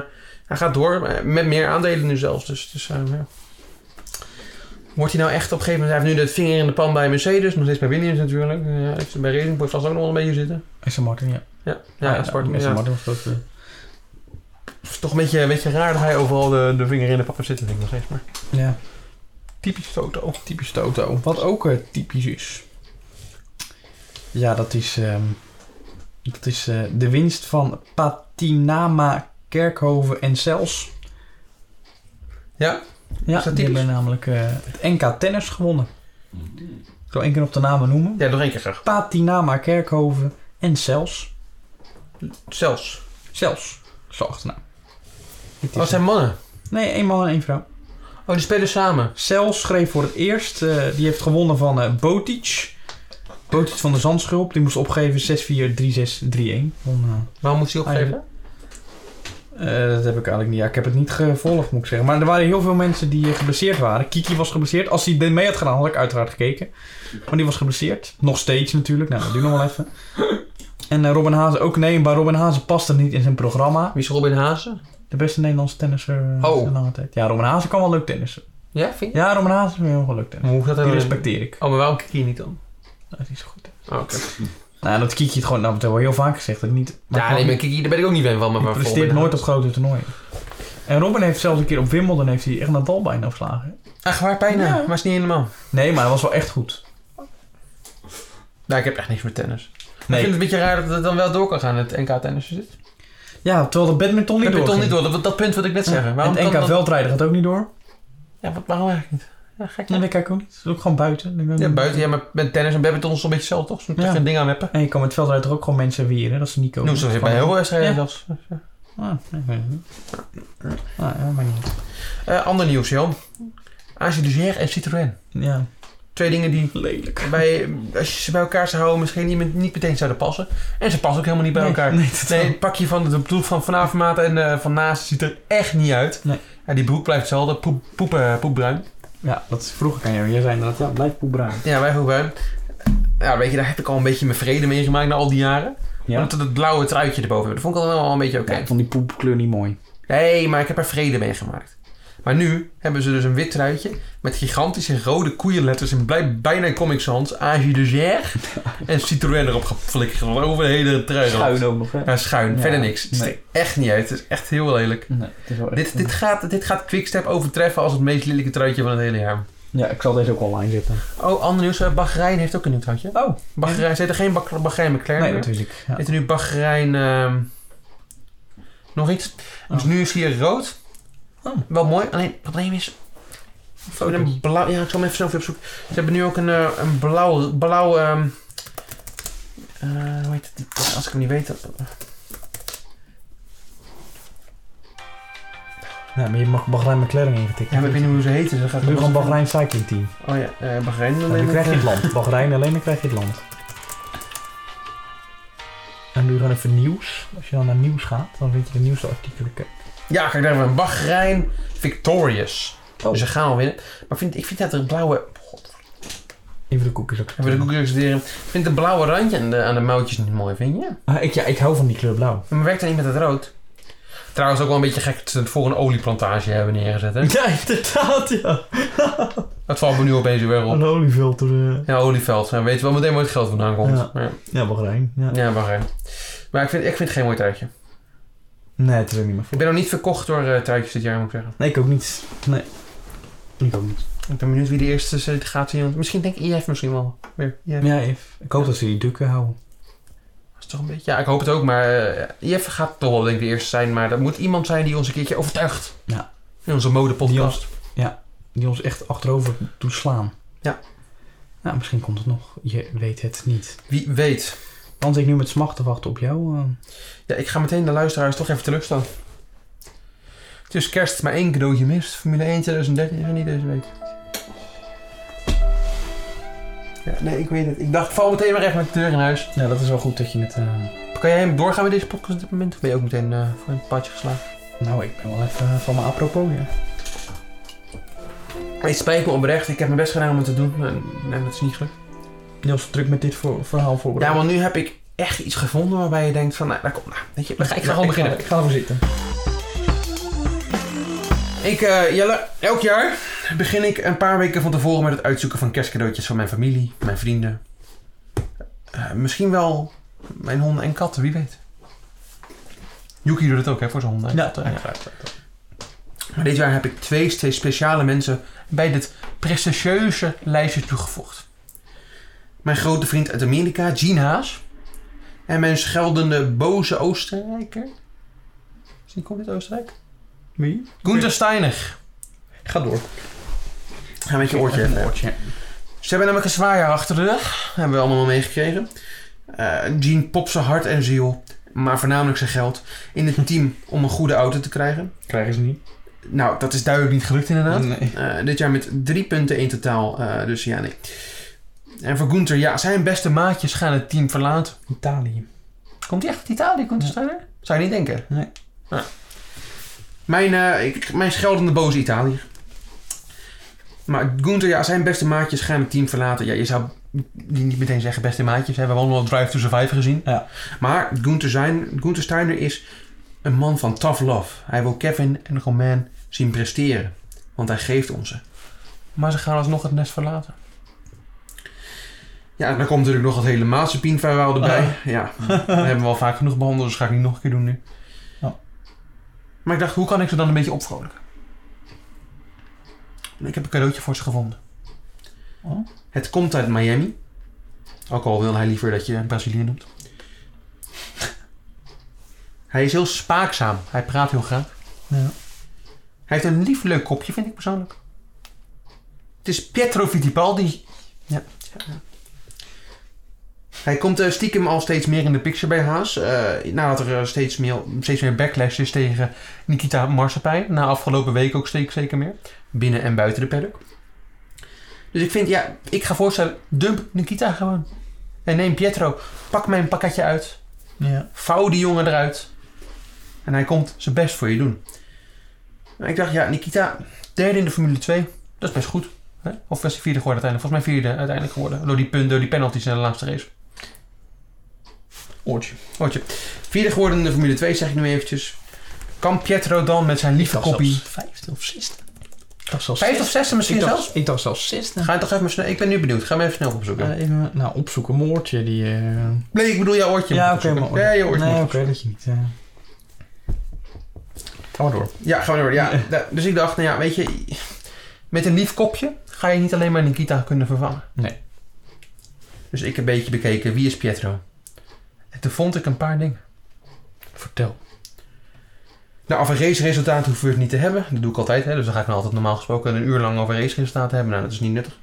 [SPEAKER 2] hij gaat door eh, met meer aandelen nu zelfs. Dus, dus eh, ja. Wordt hij nou echt op een gegeven moment... Hij heeft nu de vinger in de pan bij Mercedes. Nog steeds bij Williams natuurlijk. Ja, heeft bij Racing Point vast ook nog wel een beetje zitten.
[SPEAKER 3] Aston Martin, ja.
[SPEAKER 2] Ja, ja,
[SPEAKER 3] Ah,
[SPEAKER 2] Spartan,
[SPEAKER 3] Aston
[SPEAKER 2] ja.
[SPEAKER 3] Martin was dat, eh,
[SPEAKER 2] Het is toch een beetje, een beetje raar dat hij overal de, de vinger in de pap heeft zitten, denk ik nog steeds. Maar
[SPEAKER 3] ja.
[SPEAKER 2] typisch Toto.
[SPEAKER 3] Typisch Toto. Wat ook eh, typisch is. Ja, dat is, ehm, dat is eh, de winst van Patinama, Kerkhoven en Cels.
[SPEAKER 2] Ja?
[SPEAKER 3] Ja,
[SPEAKER 2] Is dat
[SPEAKER 3] die
[SPEAKER 2] typisch?
[SPEAKER 3] hebben namelijk eh, het NK Tennis gewonnen. Ik zal één keer op de namen noemen.
[SPEAKER 2] Ja, nog één keer graag.
[SPEAKER 3] Patinama, Kerkhoven en Cels.
[SPEAKER 2] Zelfs.
[SPEAKER 3] Cels, zo achternaam. Dit is
[SPEAKER 2] nou. Oh, het zijn mannen.
[SPEAKER 3] het. Nee, één man en één vrouw.
[SPEAKER 2] Oh, die spelen samen.
[SPEAKER 3] Cel schreef voor het eerst. eh, die heeft gewonnen van eh Botic. Botic van de Zandschulp. Die moest opgeven 6-4, 3-6, 3-1. Van, eh,
[SPEAKER 2] Waarom moest hij opgeven?
[SPEAKER 3] eh, dat heb ik eigenlijk niet. Ja, ik heb het niet gevolgd, moet ik zeggen. Maar er waren heel veel mensen die eh, geblesseerd waren. Kiki was geblesseerd. Als hij dit mee had gedaan, had ik uiteraard gekeken. Maar die was geblesseerd. Nog steeds natuurlijk. Nou, dat duurt nog wel even. En eh, Robin Hazen ook nee. Maar Robin Hazen paste niet in zijn programma.
[SPEAKER 2] Wie is Robin Hazen?
[SPEAKER 3] De beste Nederlandse tennisser eh,
[SPEAKER 2] Oh.
[SPEAKER 3] in lange tijd. Ja, Robin Hazen kan wel leuk tennissen.
[SPEAKER 2] Ja, vind je?
[SPEAKER 3] Ja, Roman Haas is meer een geluk.
[SPEAKER 2] Maar hoe gaat dat dan-
[SPEAKER 3] Die respecteer ik.
[SPEAKER 2] Oh, maar waarom kijk je niet dan?
[SPEAKER 3] Dat is goed.
[SPEAKER 2] Oh, oké.
[SPEAKER 3] Nou, dat kiekje het gewoon, nou, dat wordt heel vaak gezegd. Dat ik niet,
[SPEAKER 2] Ja, nee, maar kijk, daar ben ik ook niet fan van. Maar
[SPEAKER 3] Hij
[SPEAKER 2] waarvoor
[SPEAKER 3] presteert
[SPEAKER 2] ben je
[SPEAKER 3] nooit
[SPEAKER 2] dan?
[SPEAKER 3] op grote toernooien. En Robin heeft zelfs een keer op Wimbledon heeft hij echt Nadal bijna verslagen.
[SPEAKER 2] Echt waar, bijna.
[SPEAKER 3] Ja.
[SPEAKER 2] Maar is niet helemaal.
[SPEAKER 3] Nee, maar hij was wel echt goed.
[SPEAKER 2] Nou, ik heb echt niks met tennis. Ik vind
[SPEAKER 3] Nee.
[SPEAKER 2] het een beetje raar dat het dan wel door kan gaan, het NK tennis. Zit.
[SPEAKER 3] Ja, terwijl de badminton niet
[SPEAKER 2] dat heb ik
[SPEAKER 3] doorging.
[SPEAKER 2] toch niet door. Dat, dat punt wat ik net zeg.
[SPEAKER 3] En
[SPEAKER 2] Waarom
[SPEAKER 3] het
[SPEAKER 2] kan
[SPEAKER 3] NK
[SPEAKER 2] dat-
[SPEAKER 3] veldrijden gaat ook niet door.
[SPEAKER 2] Ja, wat, waarom eigenlijk niet? Ja, gek.
[SPEAKER 3] Nee,
[SPEAKER 2] hè?
[SPEAKER 3] dat kijk ik ook niet. Dat is ook gewoon buiten. Dan ben je-
[SPEAKER 2] Ja, buiten. Ja, maar met tennis en badminton is het een beetje hetzelfde, toch? Zo'n
[SPEAKER 3] Ja.
[SPEAKER 2] tegen een ding aan meppen.
[SPEAKER 3] En je kan met veldrijden toch ook gewoon mensen wieren. Dat is Nico.
[SPEAKER 2] Noem ze bij
[SPEAKER 3] Gewoon-
[SPEAKER 2] heel veel wedstrijden
[SPEAKER 3] Ja.
[SPEAKER 2] zelfs.
[SPEAKER 3] Ah, nee, nee, nee. Ah, ja, maar niet.
[SPEAKER 2] Eh, ander nieuws, Jan. AC Duzer en Citroën.
[SPEAKER 3] Ja,
[SPEAKER 2] Twee dingen die
[SPEAKER 3] lelijk.
[SPEAKER 2] bij, als je ze bij elkaar zou houden misschien niet, met- niet meteen zouden passen. En ze passen ook helemaal niet bij
[SPEAKER 3] Nee,
[SPEAKER 2] elkaar.
[SPEAKER 3] nee, totaal.
[SPEAKER 2] Nee, het pakje van de broek van vanavond maat en eh, van naast ziet er echt niet uit.
[SPEAKER 3] Nee.
[SPEAKER 2] Ja, die broek blijft hetzelfde, poep, poep, eh, poepbruin.
[SPEAKER 3] Ja, dat is vroeger aan jou. Jij zei inderdaad, ja, blijf poepbruin.
[SPEAKER 2] Ja, wij poepbruin. Ja, weet je, daar heb ik al een beetje mijn vrede mee gemaakt na al die jaren.
[SPEAKER 3] Ja.
[SPEAKER 2] Omdat het blauwe truitje erboven hebben, dat vond ik al wel een beetje oké.
[SPEAKER 4] Ja, ik vond die poepkleur niet mooi.
[SPEAKER 2] Nee, maar ik heb er vrede mee gemaakt. Maar nu hebben ze dus een wit truitje met gigantische rode koeienletters in blij- bijna Comic Sans, Agi de Gère en Citroën erop geflikkerd over de hele trui.
[SPEAKER 4] Schuin ook nog, hè?
[SPEAKER 2] Ja, schuin.
[SPEAKER 4] Ja,
[SPEAKER 2] Verder niks. Het ziet
[SPEAKER 4] nee.
[SPEAKER 2] er echt niet uit. Het is echt heel lelijk.
[SPEAKER 4] Nee, het is wel echt...
[SPEAKER 2] Dit, dit, gaat, dit gaat Quickstep overtreffen als het meest lelijke truitje van het hele jaar.
[SPEAKER 4] Ja, ik zal deze ook online zetten.
[SPEAKER 2] Oh, ander nieuws. eh, Bahrein heeft ook een nieuw truitje.
[SPEAKER 3] Oh,
[SPEAKER 2] Bahrein, ze heet er geen Bak- Bahrein McLaren
[SPEAKER 3] nee,
[SPEAKER 2] meer.
[SPEAKER 3] dat wist ik. Ja.
[SPEAKER 2] Heet er nu Bahrein... ehm, nog iets. Dus
[SPEAKER 3] Oh.
[SPEAKER 2] nu is hier rood.
[SPEAKER 3] Oh.
[SPEAKER 2] Wel mooi. Alleen, het probleem is... ze hebben Een blauw, ja, ik zal hem even snel op zoek. Ze hebben nu ook een, eh, een blauw... blauw ehm, eh, hoe heet het? Die- Als ik hem niet weet... dat-
[SPEAKER 3] Ja, maar je mag Bahrein McLaren ingetikt.
[SPEAKER 2] Ja, maar ik weet niet hoe ze heten. Dus dat gaat
[SPEAKER 3] Nu gewoon Bahrein Cycling Team.
[SPEAKER 2] Oh ja, eh Bahrein.
[SPEAKER 3] En dan
[SPEAKER 2] ik,
[SPEAKER 3] krijg je
[SPEAKER 2] eh,
[SPEAKER 3] het land. Bahrein alleen, dan krijg je het land. En nu gaan even nieuws. Als je dan naar nieuws gaat, dan vind je de nieuwsartikelen.
[SPEAKER 2] Ja, kijk daar hebben we Bahrein Victorious.
[SPEAKER 3] Oh.
[SPEAKER 2] Dus ze gaan al winnen. Maar vind, ik vind dat er blauwe... God,
[SPEAKER 3] Even de koekjes ook.
[SPEAKER 2] hebben we de conclusie leren? Ik vind de blauwe randje aan de, aan de mouwtjes niet mooi, vind je?
[SPEAKER 3] Ah, ik, ja, ik hou van die kleur blauw.
[SPEAKER 2] Maar werkt dat niet met het rood? Trouwens ook wel een beetje gek dat ze het voor een olieplantage hebben neergezet, hè?
[SPEAKER 3] Ja, inderdaad, ja.
[SPEAKER 2] Dat valt me nu opeens weer op.
[SPEAKER 3] Een oliefilter. eh.
[SPEAKER 2] Ja, olieveld. Ja, weet je wel meteen waar het geld vandaan komt.
[SPEAKER 3] Ja.
[SPEAKER 2] Maar,
[SPEAKER 3] Ja, Bahrein. Ja.
[SPEAKER 2] ja, Bahrein. Maar ik vind, ik vind het geen mooi truitje.
[SPEAKER 3] Nee, het is ook niet meer
[SPEAKER 2] Ik
[SPEAKER 3] voor.
[SPEAKER 2] ben nog niet verkocht door eh, truitjes dit jaar, moet ik zeggen.
[SPEAKER 3] Nee, ik ook niet. Nee. Ik ook niet.
[SPEAKER 2] Ik ben benieuwd wie de eerste set gaat zien. Misschien denk ik IF misschien wel. Weer. IF.
[SPEAKER 3] Ja, Eve. Ik hoop dat ze die dukken houden.
[SPEAKER 2] Dat is toch een beetje... Ja, ik hoop het ook, maar eh, IF gaat toch wel denk ik de eerste zijn. Maar dat moet iemand zijn die ons een keertje overtuigt.
[SPEAKER 3] Ja.
[SPEAKER 2] In onze modepodcast.
[SPEAKER 3] Die ons echt achterover doet slaan.
[SPEAKER 2] Ja.
[SPEAKER 3] Nou, misschien komt het nog. Je weet het niet.
[SPEAKER 2] Wie weet.
[SPEAKER 3] Dan zit ik nu met smacht te wachten op jou. eh.
[SPEAKER 2] Ja, ik ga meteen de luisteraars toch even teleurstellen. Het is kerst, maar één cadeautje mist. Formule 1 2013 is er niet deze week. Ja, nee, ik weet het. Ik dacht, val meteen maar even met de deur in huis.
[SPEAKER 3] Ja, dat is wel goed dat je het... eh,
[SPEAKER 2] Kan jij hem doorgaan met deze podcast op dit moment? Of ben je ook meteen eh, voor een padje geslagen?
[SPEAKER 3] Nou, ik ben wel even van me apropos, ja.
[SPEAKER 2] Het spijt me oprecht. Ik heb mijn best gedaan om het te doen. Maar, nee, dat is niet gelukt.
[SPEAKER 3] Heel druk met dit voor- verhaal
[SPEAKER 2] Ja,
[SPEAKER 3] voorbereid.
[SPEAKER 2] want nu heb ik echt iets gevonden waarbij je denkt van, nou, daar komt, nou, weet je, ik ga, ik ga gewoon beginnen.
[SPEAKER 3] Ik ga ervoor zitten.
[SPEAKER 2] Ik, eh, Jelle, elk jaar begin ik een paar weken van tevoren met het uitzoeken van kerstcadeautjes voor mijn familie, mijn vrienden. Eh, misschien wel mijn honden en katten, wie weet. Yuki doet het ook, hè, voor zijn honden. en
[SPEAKER 3] Ja,
[SPEAKER 2] katten. Maar dit jaar heb ik twee steeds speciale mensen bij dit prestigieuze lijstje toegevoegd. Mijn grote vriend uit Amerika, Gene Haas. En mijn scheldende boze Oostenrijker. Is die komt uit Oostenrijk?
[SPEAKER 3] Wie?
[SPEAKER 2] Gunther Steiner.
[SPEAKER 3] Ga door.
[SPEAKER 2] Ga met je oortje
[SPEAKER 3] Even
[SPEAKER 2] even. Ze hebben namelijk een zwaar jaar achter de rug. Hebben we allemaal wel meegekregen. Eh Gene popt zijn hart en ziel, maar voornamelijk zijn geld, in het team om een goede auto te krijgen.
[SPEAKER 4] Krijgen ze niet.
[SPEAKER 2] Nou, dat is duidelijk niet gelukt inderdaad.
[SPEAKER 4] Nee.
[SPEAKER 2] Eh, dit jaar met drie punten in totaal. eh, dus ja, nee. En voor Gunther, ja, zijn beste maatjes gaan het team verlaten.
[SPEAKER 3] Italië.
[SPEAKER 2] Komt hij echt uit Italië, Gunther
[SPEAKER 3] Ja.
[SPEAKER 2] Steiner? Zou je niet denken?
[SPEAKER 3] Nee.
[SPEAKER 2] Nou. Mijn, eh, ik, mijn scheldende boze Italië. Maar Gunther, ja, zijn beste maatjes gaan het team verlaten. Ja, je zou die niet meteen zeggen beste maatjes. Hè? We hebben allemaal Drive to Survive gezien.
[SPEAKER 3] Ja.
[SPEAKER 2] Maar Gunther, zijn, Gunther Steiner is een man van tough love. Hij wil Kevin en Romain zien presteren. Want hij geeft ons ze. Maar ze gaan alsnog het nest verlaten. Ja, en dan komt natuurlijk nog het hele marsepienverhaal erbij. Ja, dat Ah. hebben we al vaak genoeg behandeld, dus ga ik niet nog een keer doen nu.
[SPEAKER 3] Ja.
[SPEAKER 2] Maar ik dacht, hoe kan ik ze dan een beetje opvrolijken? En Ik heb een cadeautje voor ze gevonden.
[SPEAKER 3] Oh.
[SPEAKER 2] Het komt uit Miami. Ook al wil hij liever dat je een Brazilië noemt. Hij is heel spaakzaam. Hij praat heel graag.
[SPEAKER 3] Ja.
[SPEAKER 2] Hij heeft een lief leuk kopje, vind ik persoonlijk. Het is Pietro Fittipaldi. Ja. Hij komt eh, stiekem al steeds meer in de picture bij Haas. eh, nadat er eh, steeds, meer, steeds meer backlash is tegen Nikita Marsepijn. Na afgelopen week ook steeds zeker meer. Binnen en buiten de paddock. Dus ik vind, ja, ik ga voorstellen, dump Nikita gewoon. En neem Pietro, pak mijn pakketje uit.
[SPEAKER 3] Ja.
[SPEAKER 2] Vouw die jongen eruit. En hij komt zijn best voor je doen. En ik dacht, ja, Nikita, derde in de Formule 2. Dat is best goed. Hè? Of was hij vierde geworden uiteindelijk? Volgens mij vierde uiteindelijk geworden. Door die, punt, door die penalties in de laatste race. Oortje. Oortje. Vierde geworden in de Formule 2, zeg ik nu eventjes. Kan Pietro dan met zijn lieve kopie...
[SPEAKER 3] Vijfde of zesde? Ik dacht zelfs
[SPEAKER 2] Vijfde of zesde misschien
[SPEAKER 3] ik
[SPEAKER 2] zelfs?
[SPEAKER 3] dacht, ik dacht zelfs zesde.
[SPEAKER 2] Ga je toch even snel... Ik ben nu benieuwd. Ga me even snel opzoeken.
[SPEAKER 3] Eh, even, nou, opzoeken. Moordje die... eh,
[SPEAKER 2] nee, ik bedoel jouw oortje.
[SPEAKER 3] Ja,
[SPEAKER 2] moet
[SPEAKER 3] oké.
[SPEAKER 2] opzoeken.
[SPEAKER 3] maar-
[SPEAKER 2] ja, je oortje.
[SPEAKER 3] Nee,
[SPEAKER 2] moet
[SPEAKER 3] oké,
[SPEAKER 2] opzoeken.
[SPEAKER 3] dat je niet... eh,
[SPEAKER 4] Ga maar door.
[SPEAKER 2] Ja, gewoon door. Ja. da- Dus ik dacht, nou ja, weet je, met een lief kopje ga je niet alleen maar Nikita kunnen vervangen.
[SPEAKER 4] Nee.
[SPEAKER 2] Dus ik heb een beetje bekeken, wie is Pietro? En toen vond ik een paar dingen.
[SPEAKER 4] Vertel.
[SPEAKER 2] Nou, over raceresultaten hoeven we het niet te hebben. Dat doe ik altijd, hè? dus dan ga ik nou altijd normaal gesproken een uur lang over raceresultaten hebben. Nou, dat is niet nuttig.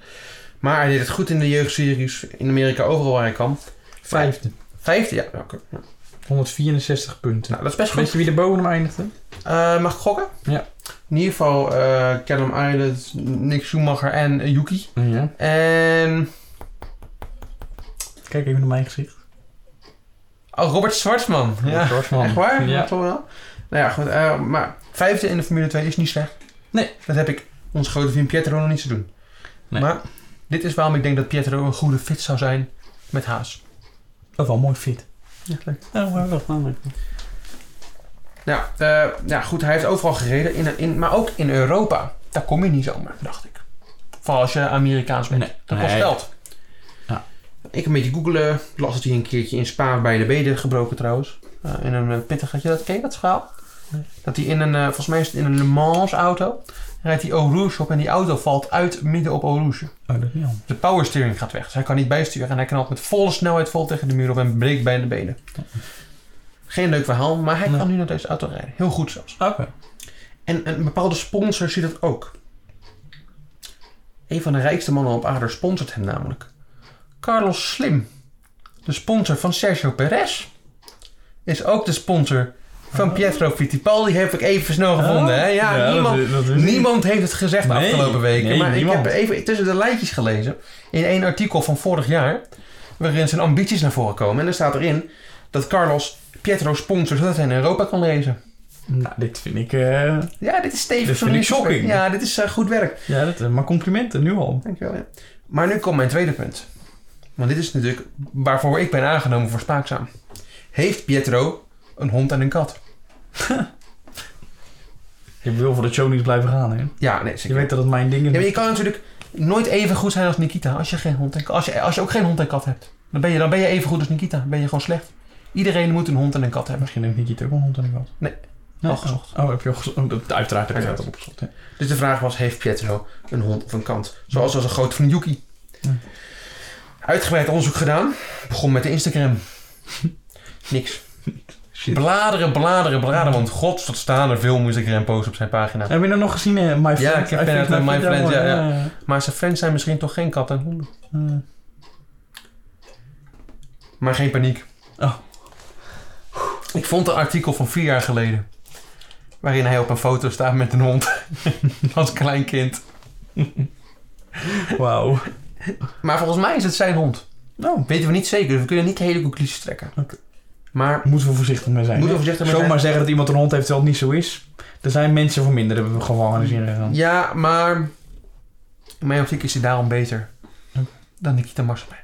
[SPEAKER 2] Maar hij deed het goed in de jeugdseries, in Amerika, overal waar hij kwam.
[SPEAKER 4] Vijfde.
[SPEAKER 2] Vijfde, ja. nou, oké. Nou,
[SPEAKER 4] 164 punten.
[SPEAKER 2] dat Nou, is best goed.
[SPEAKER 4] Weet je wie er boven hem eindigde?
[SPEAKER 2] Eh, mag ik gokken?
[SPEAKER 4] Ja.
[SPEAKER 2] In ieder geval eh Callum Island, Nick Schumacher en eh, Yuki.
[SPEAKER 4] Ja.
[SPEAKER 2] En
[SPEAKER 3] Kijk even naar mijn gezicht.
[SPEAKER 2] oh, Robert Zwartsman. Ja.
[SPEAKER 4] Dorsman.
[SPEAKER 2] Echt waar?
[SPEAKER 4] Ja.
[SPEAKER 2] Toch wel? Nou ja, goed. eh, maar vijfde in de Formule 2 is niet slecht.
[SPEAKER 4] Nee.
[SPEAKER 2] Dat heb ik ons grote vriend Pietro nog niet te doen.
[SPEAKER 4] Nee.
[SPEAKER 2] Maar dit is waarom ik denk dat Pietro een goede fit zou zijn met Haas.
[SPEAKER 3] Dat is wel mooi fit.
[SPEAKER 2] Ja, leuk.
[SPEAKER 3] Oh, maar wel.
[SPEAKER 2] Nou, eh, ja, goed. Hij heeft overal gereden, in, in, maar ook in Europa. Daar kom je niet zomaar, dacht ik. Vooral als je Amerikaans bent.
[SPEAKER 4] Nee.
[SPEAKER 2] Dat kost
[SPEAKER 4] Nee.
[SPEAKER 2] geld.
[SPEAKER 4] Ja.
[SPEAKER 2] Ik een beetje googelen. Ik las dat hij een keertje in Spa bij de benen gebroken trouwens. Eh, in een eh, pittig, had je dat, ken je dat verhaal?
[SPEAKER 3] Nee.
[SPEAKER 2] Dat hij in een, eh, volgens mij is het in een Le Mans auto, rijdt hij Eau Rouge op en die auto valt uit midden op Eau Rouge.
[SPEAKER 3] Oh, dat is niet handig.
[SPEAKER 2] De powersteering gaat weg, dus hij kan niet bijsturen en hij knalt met volle snelheid vol tegen de muur op en breekt bij de benen. Geen leuk verhaal, maar hij
[SPEAKER 3] Nee.
[SPEAKER 2] kan nu naar deze auto rijden. Heel goed zelfs.
[SPEAKER 3] Oké.
[SPEAKER 2] En een bepaalde sponsor ziet dat ook. Een van de rijkste mannen op aarde sponsort hem namelijk. Carlos Slim, de sponsor van Sergio Perez, is ook de sponsor
[SPEAKER 4] Oh.
[SPEAKER 2] van Pietro Fittipaldi. Heb ik even snel gevonden. hè? Ja, niemand, niemand heeft het gezegd de
[SPEAKER 4] Nee,
[SPEAKER 2] afgelopen weken.
[SPEAKER 4] nee,
[SPEAKER 2] maar
[SPEAKER 4] niemand.
[SPEAKER 2] ik heb even tussen de lijntjes gelezen in één artikel van vorig jaar. Waarin zijn ambities naar voren komen. En er staat erin dat Carlos Pietro sponsort zodat hij in Europa kan lezen.
[SPEAKER 4] Nou, dit vind ik... eh,
[SPEAKER 2] Ja, dit is
[SPEAKER 4] Dit
[SPEAKER 2] stevig.
[SPEAKER 4] vind ik
[SPEAKER 2] journalistisch werk.
[SPEAKER 4] shocking.
[SPEAKER 2] Ja, dit is eh, goed werk.
[SPEAKER 4] Ja, dat, maar complimenten nu al.
[SPEAKER 2] Dankjewel. Ja. Maar nu komt mijn tweede punt. Want dit is natuurlijk waarvoor ik ben aangenomen voor spaakzaam. Heeft Pietro een hond en een kat?
[SPEAKER 4] Ik wil voor de show niet blijven gaan, hè.
[SPEAKER 2] Ja, nee,
[SPEAKER 4] Je
[SPEAKER 2] zeker.
[SPEAKER 4] weet dat het mijn
[SPEAKER 2] Ja,
[SPEAKER 4] dingen...
[SPEAKER 2] maar je kan natuurlijk nooit even goed zijn als Nikita als je, geen hond en, als je, als je ook geen hond en kat hebt. Dan ben, je, dan ben je even goed als Nikita. Dan ben je gewoon slecht. Iedereen moet een hond en een kat hebben.
[SPEAKER 4] Misschien heeft Nikita ook een hond aan de kat.
[SPEAKER 2] Nee,
[SPEAKER 4] Nee,
[SPEAKER 2] al gezocht.
[SPEAKER 4] Oh, heb je al gezocht? Oh, dat- Uiteraard heb je dat
[SPEAKER 2] Uiteraard.
[SPEAKER 4] opgezocht, hè.
[SPEAKER 2] Dus de vraag was, heeft Pietro een hond of een kat? Zoals was een groot van Yuki.
[SPEAKER 3] Ja.
[SPEAKER 2] Uitgebreid onderzoek gedaan. Begon met de Instagram. Niks.
[SPEAKER 4] Shit.
[SPEAKER 2] Bladeren, bladeren, bladeren. Want gods, wat staan er veel Instagram-posts op zijn pagina.
[SPEAKER 4] Heb je nou nog gezien, eh, My Friend?
[SPEAKER 2] ik heb
[SPEAKER 4] I
[SPEAKER 2] Ben
[SPEAKER 4] Think
[SPEAKER 2] uit, eh,
[SPEAKER 4] My
[SPEAKER 2] My
[SPEAKER 4] Friend,
[SPEAKER 2] Friend, ja,
[SPEAKER 4] hoor.
[SPEAKER 2] Maar zijn fans zijn misschien toch geen kat en honden.
[SPEAKER 3] Eh,
[SPEAKER 2] Maar geen paniek.
[SPEAKER 3] Oh.
[SPEAKER 2] Ik vond een artikel van vier jaar geleden. Waarin hij op een foto staat met een hond. Als klein kind.
[SPEAKER 4] Ja. Wauw.
[SPEAKER 2] Maar volgens mij is het zijn hond.
[SPEAKER 4] eh, Nou,
[SPEAKER 2] Weten we niet zeker, dus we kunnen niet de hele conclusies trekken.
[SPEAKER 4] Oké.
[SPEAKER 2] Maar
[SPEAKER 4] moeten we voorzichtig mee zijn.
[SPEAKER 2] Moeten we
[SPEAKER 4] hè?
[SPEAKER 2] voorzichtig mee zijn.
[SPEAKER 4] Zomaar zeggen dat iemand een hond heeft terwijl het niet zo is. Er zijn mensen voor minder, hebben we gevangenis in gegaan.
[SPEAKER 2] Ja, maar in mijn optiek is hij daarom beter dan Nikita Marsman.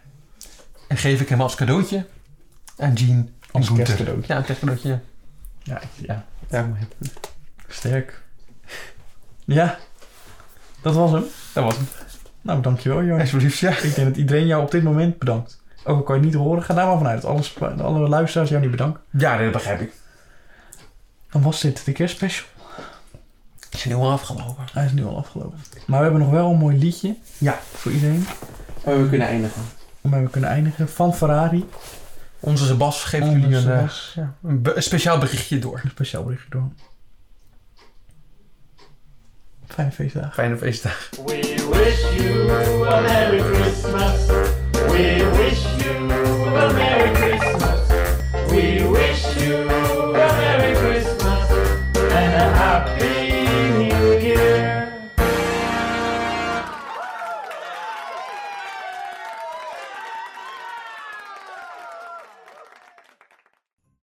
[SPEAKER 2] En geef ik hem als cadeautje aan Jean
[SPEAKER 4] Als
[SPEAKER 2] en Gunther.
[SPEAKER 4] kerstcadeautje.
[SPEAKER 2] Ja, een kerstcadeautje. ja.
[SPEAKER 4] Ja, ja.
[SPEAKER 2] Daar moet je-
[SPEAKER 4] Sterk. Ja. Dat was hem.
[SPEAKER 2] Dat was hem.
[SPEAKER 3] Nou, dankjewel Jonas.
[SPEAKER 2] Alsjeblieft, ja.
[SPEAKER 3] Ik denk dat iedereen jou op dit moment bedankt. Ook al kan je het niet horen, ga daar maar vanuit dat alles, alle luisteraars jou niet bedanken.
[SPEAKER 2] Ja, dat begrijp ik.
[SPEAKER 3] Dan was dit de kerstspecial.
[SPEAKER 2] Ik ben heel afgelopen.
[SPEAKER 3] Hij is nu al afgelopen. Maar we hebben nog wel een mooi liedje.
[SPEAKER 2] Ja.
[SPEAKER 3] Voor iedereen.
[SPEAKER 2] Maar we kunnen eindigen.
[SPEAKER 3] Om we kunnen eindigen. Van Ferrari.
[SPEAKER 2] Onze Sebas geeft
[SPEAKER 3] Onder
[SPEAKER 2] jullie een, eh,
[SPEAKER 3] Sebas. Ja,
[SPEAKER 2] een be- een speciaal berichtje door.
[SPEAKER 3] eh, een speciaal berichtje door. Fijne feestdagen.
[SPEAKER 2] Fijne feestdagen.
[SPEAKER 6] We wish you a Merry Christmas. We wish you a Merry Christmas. We wish you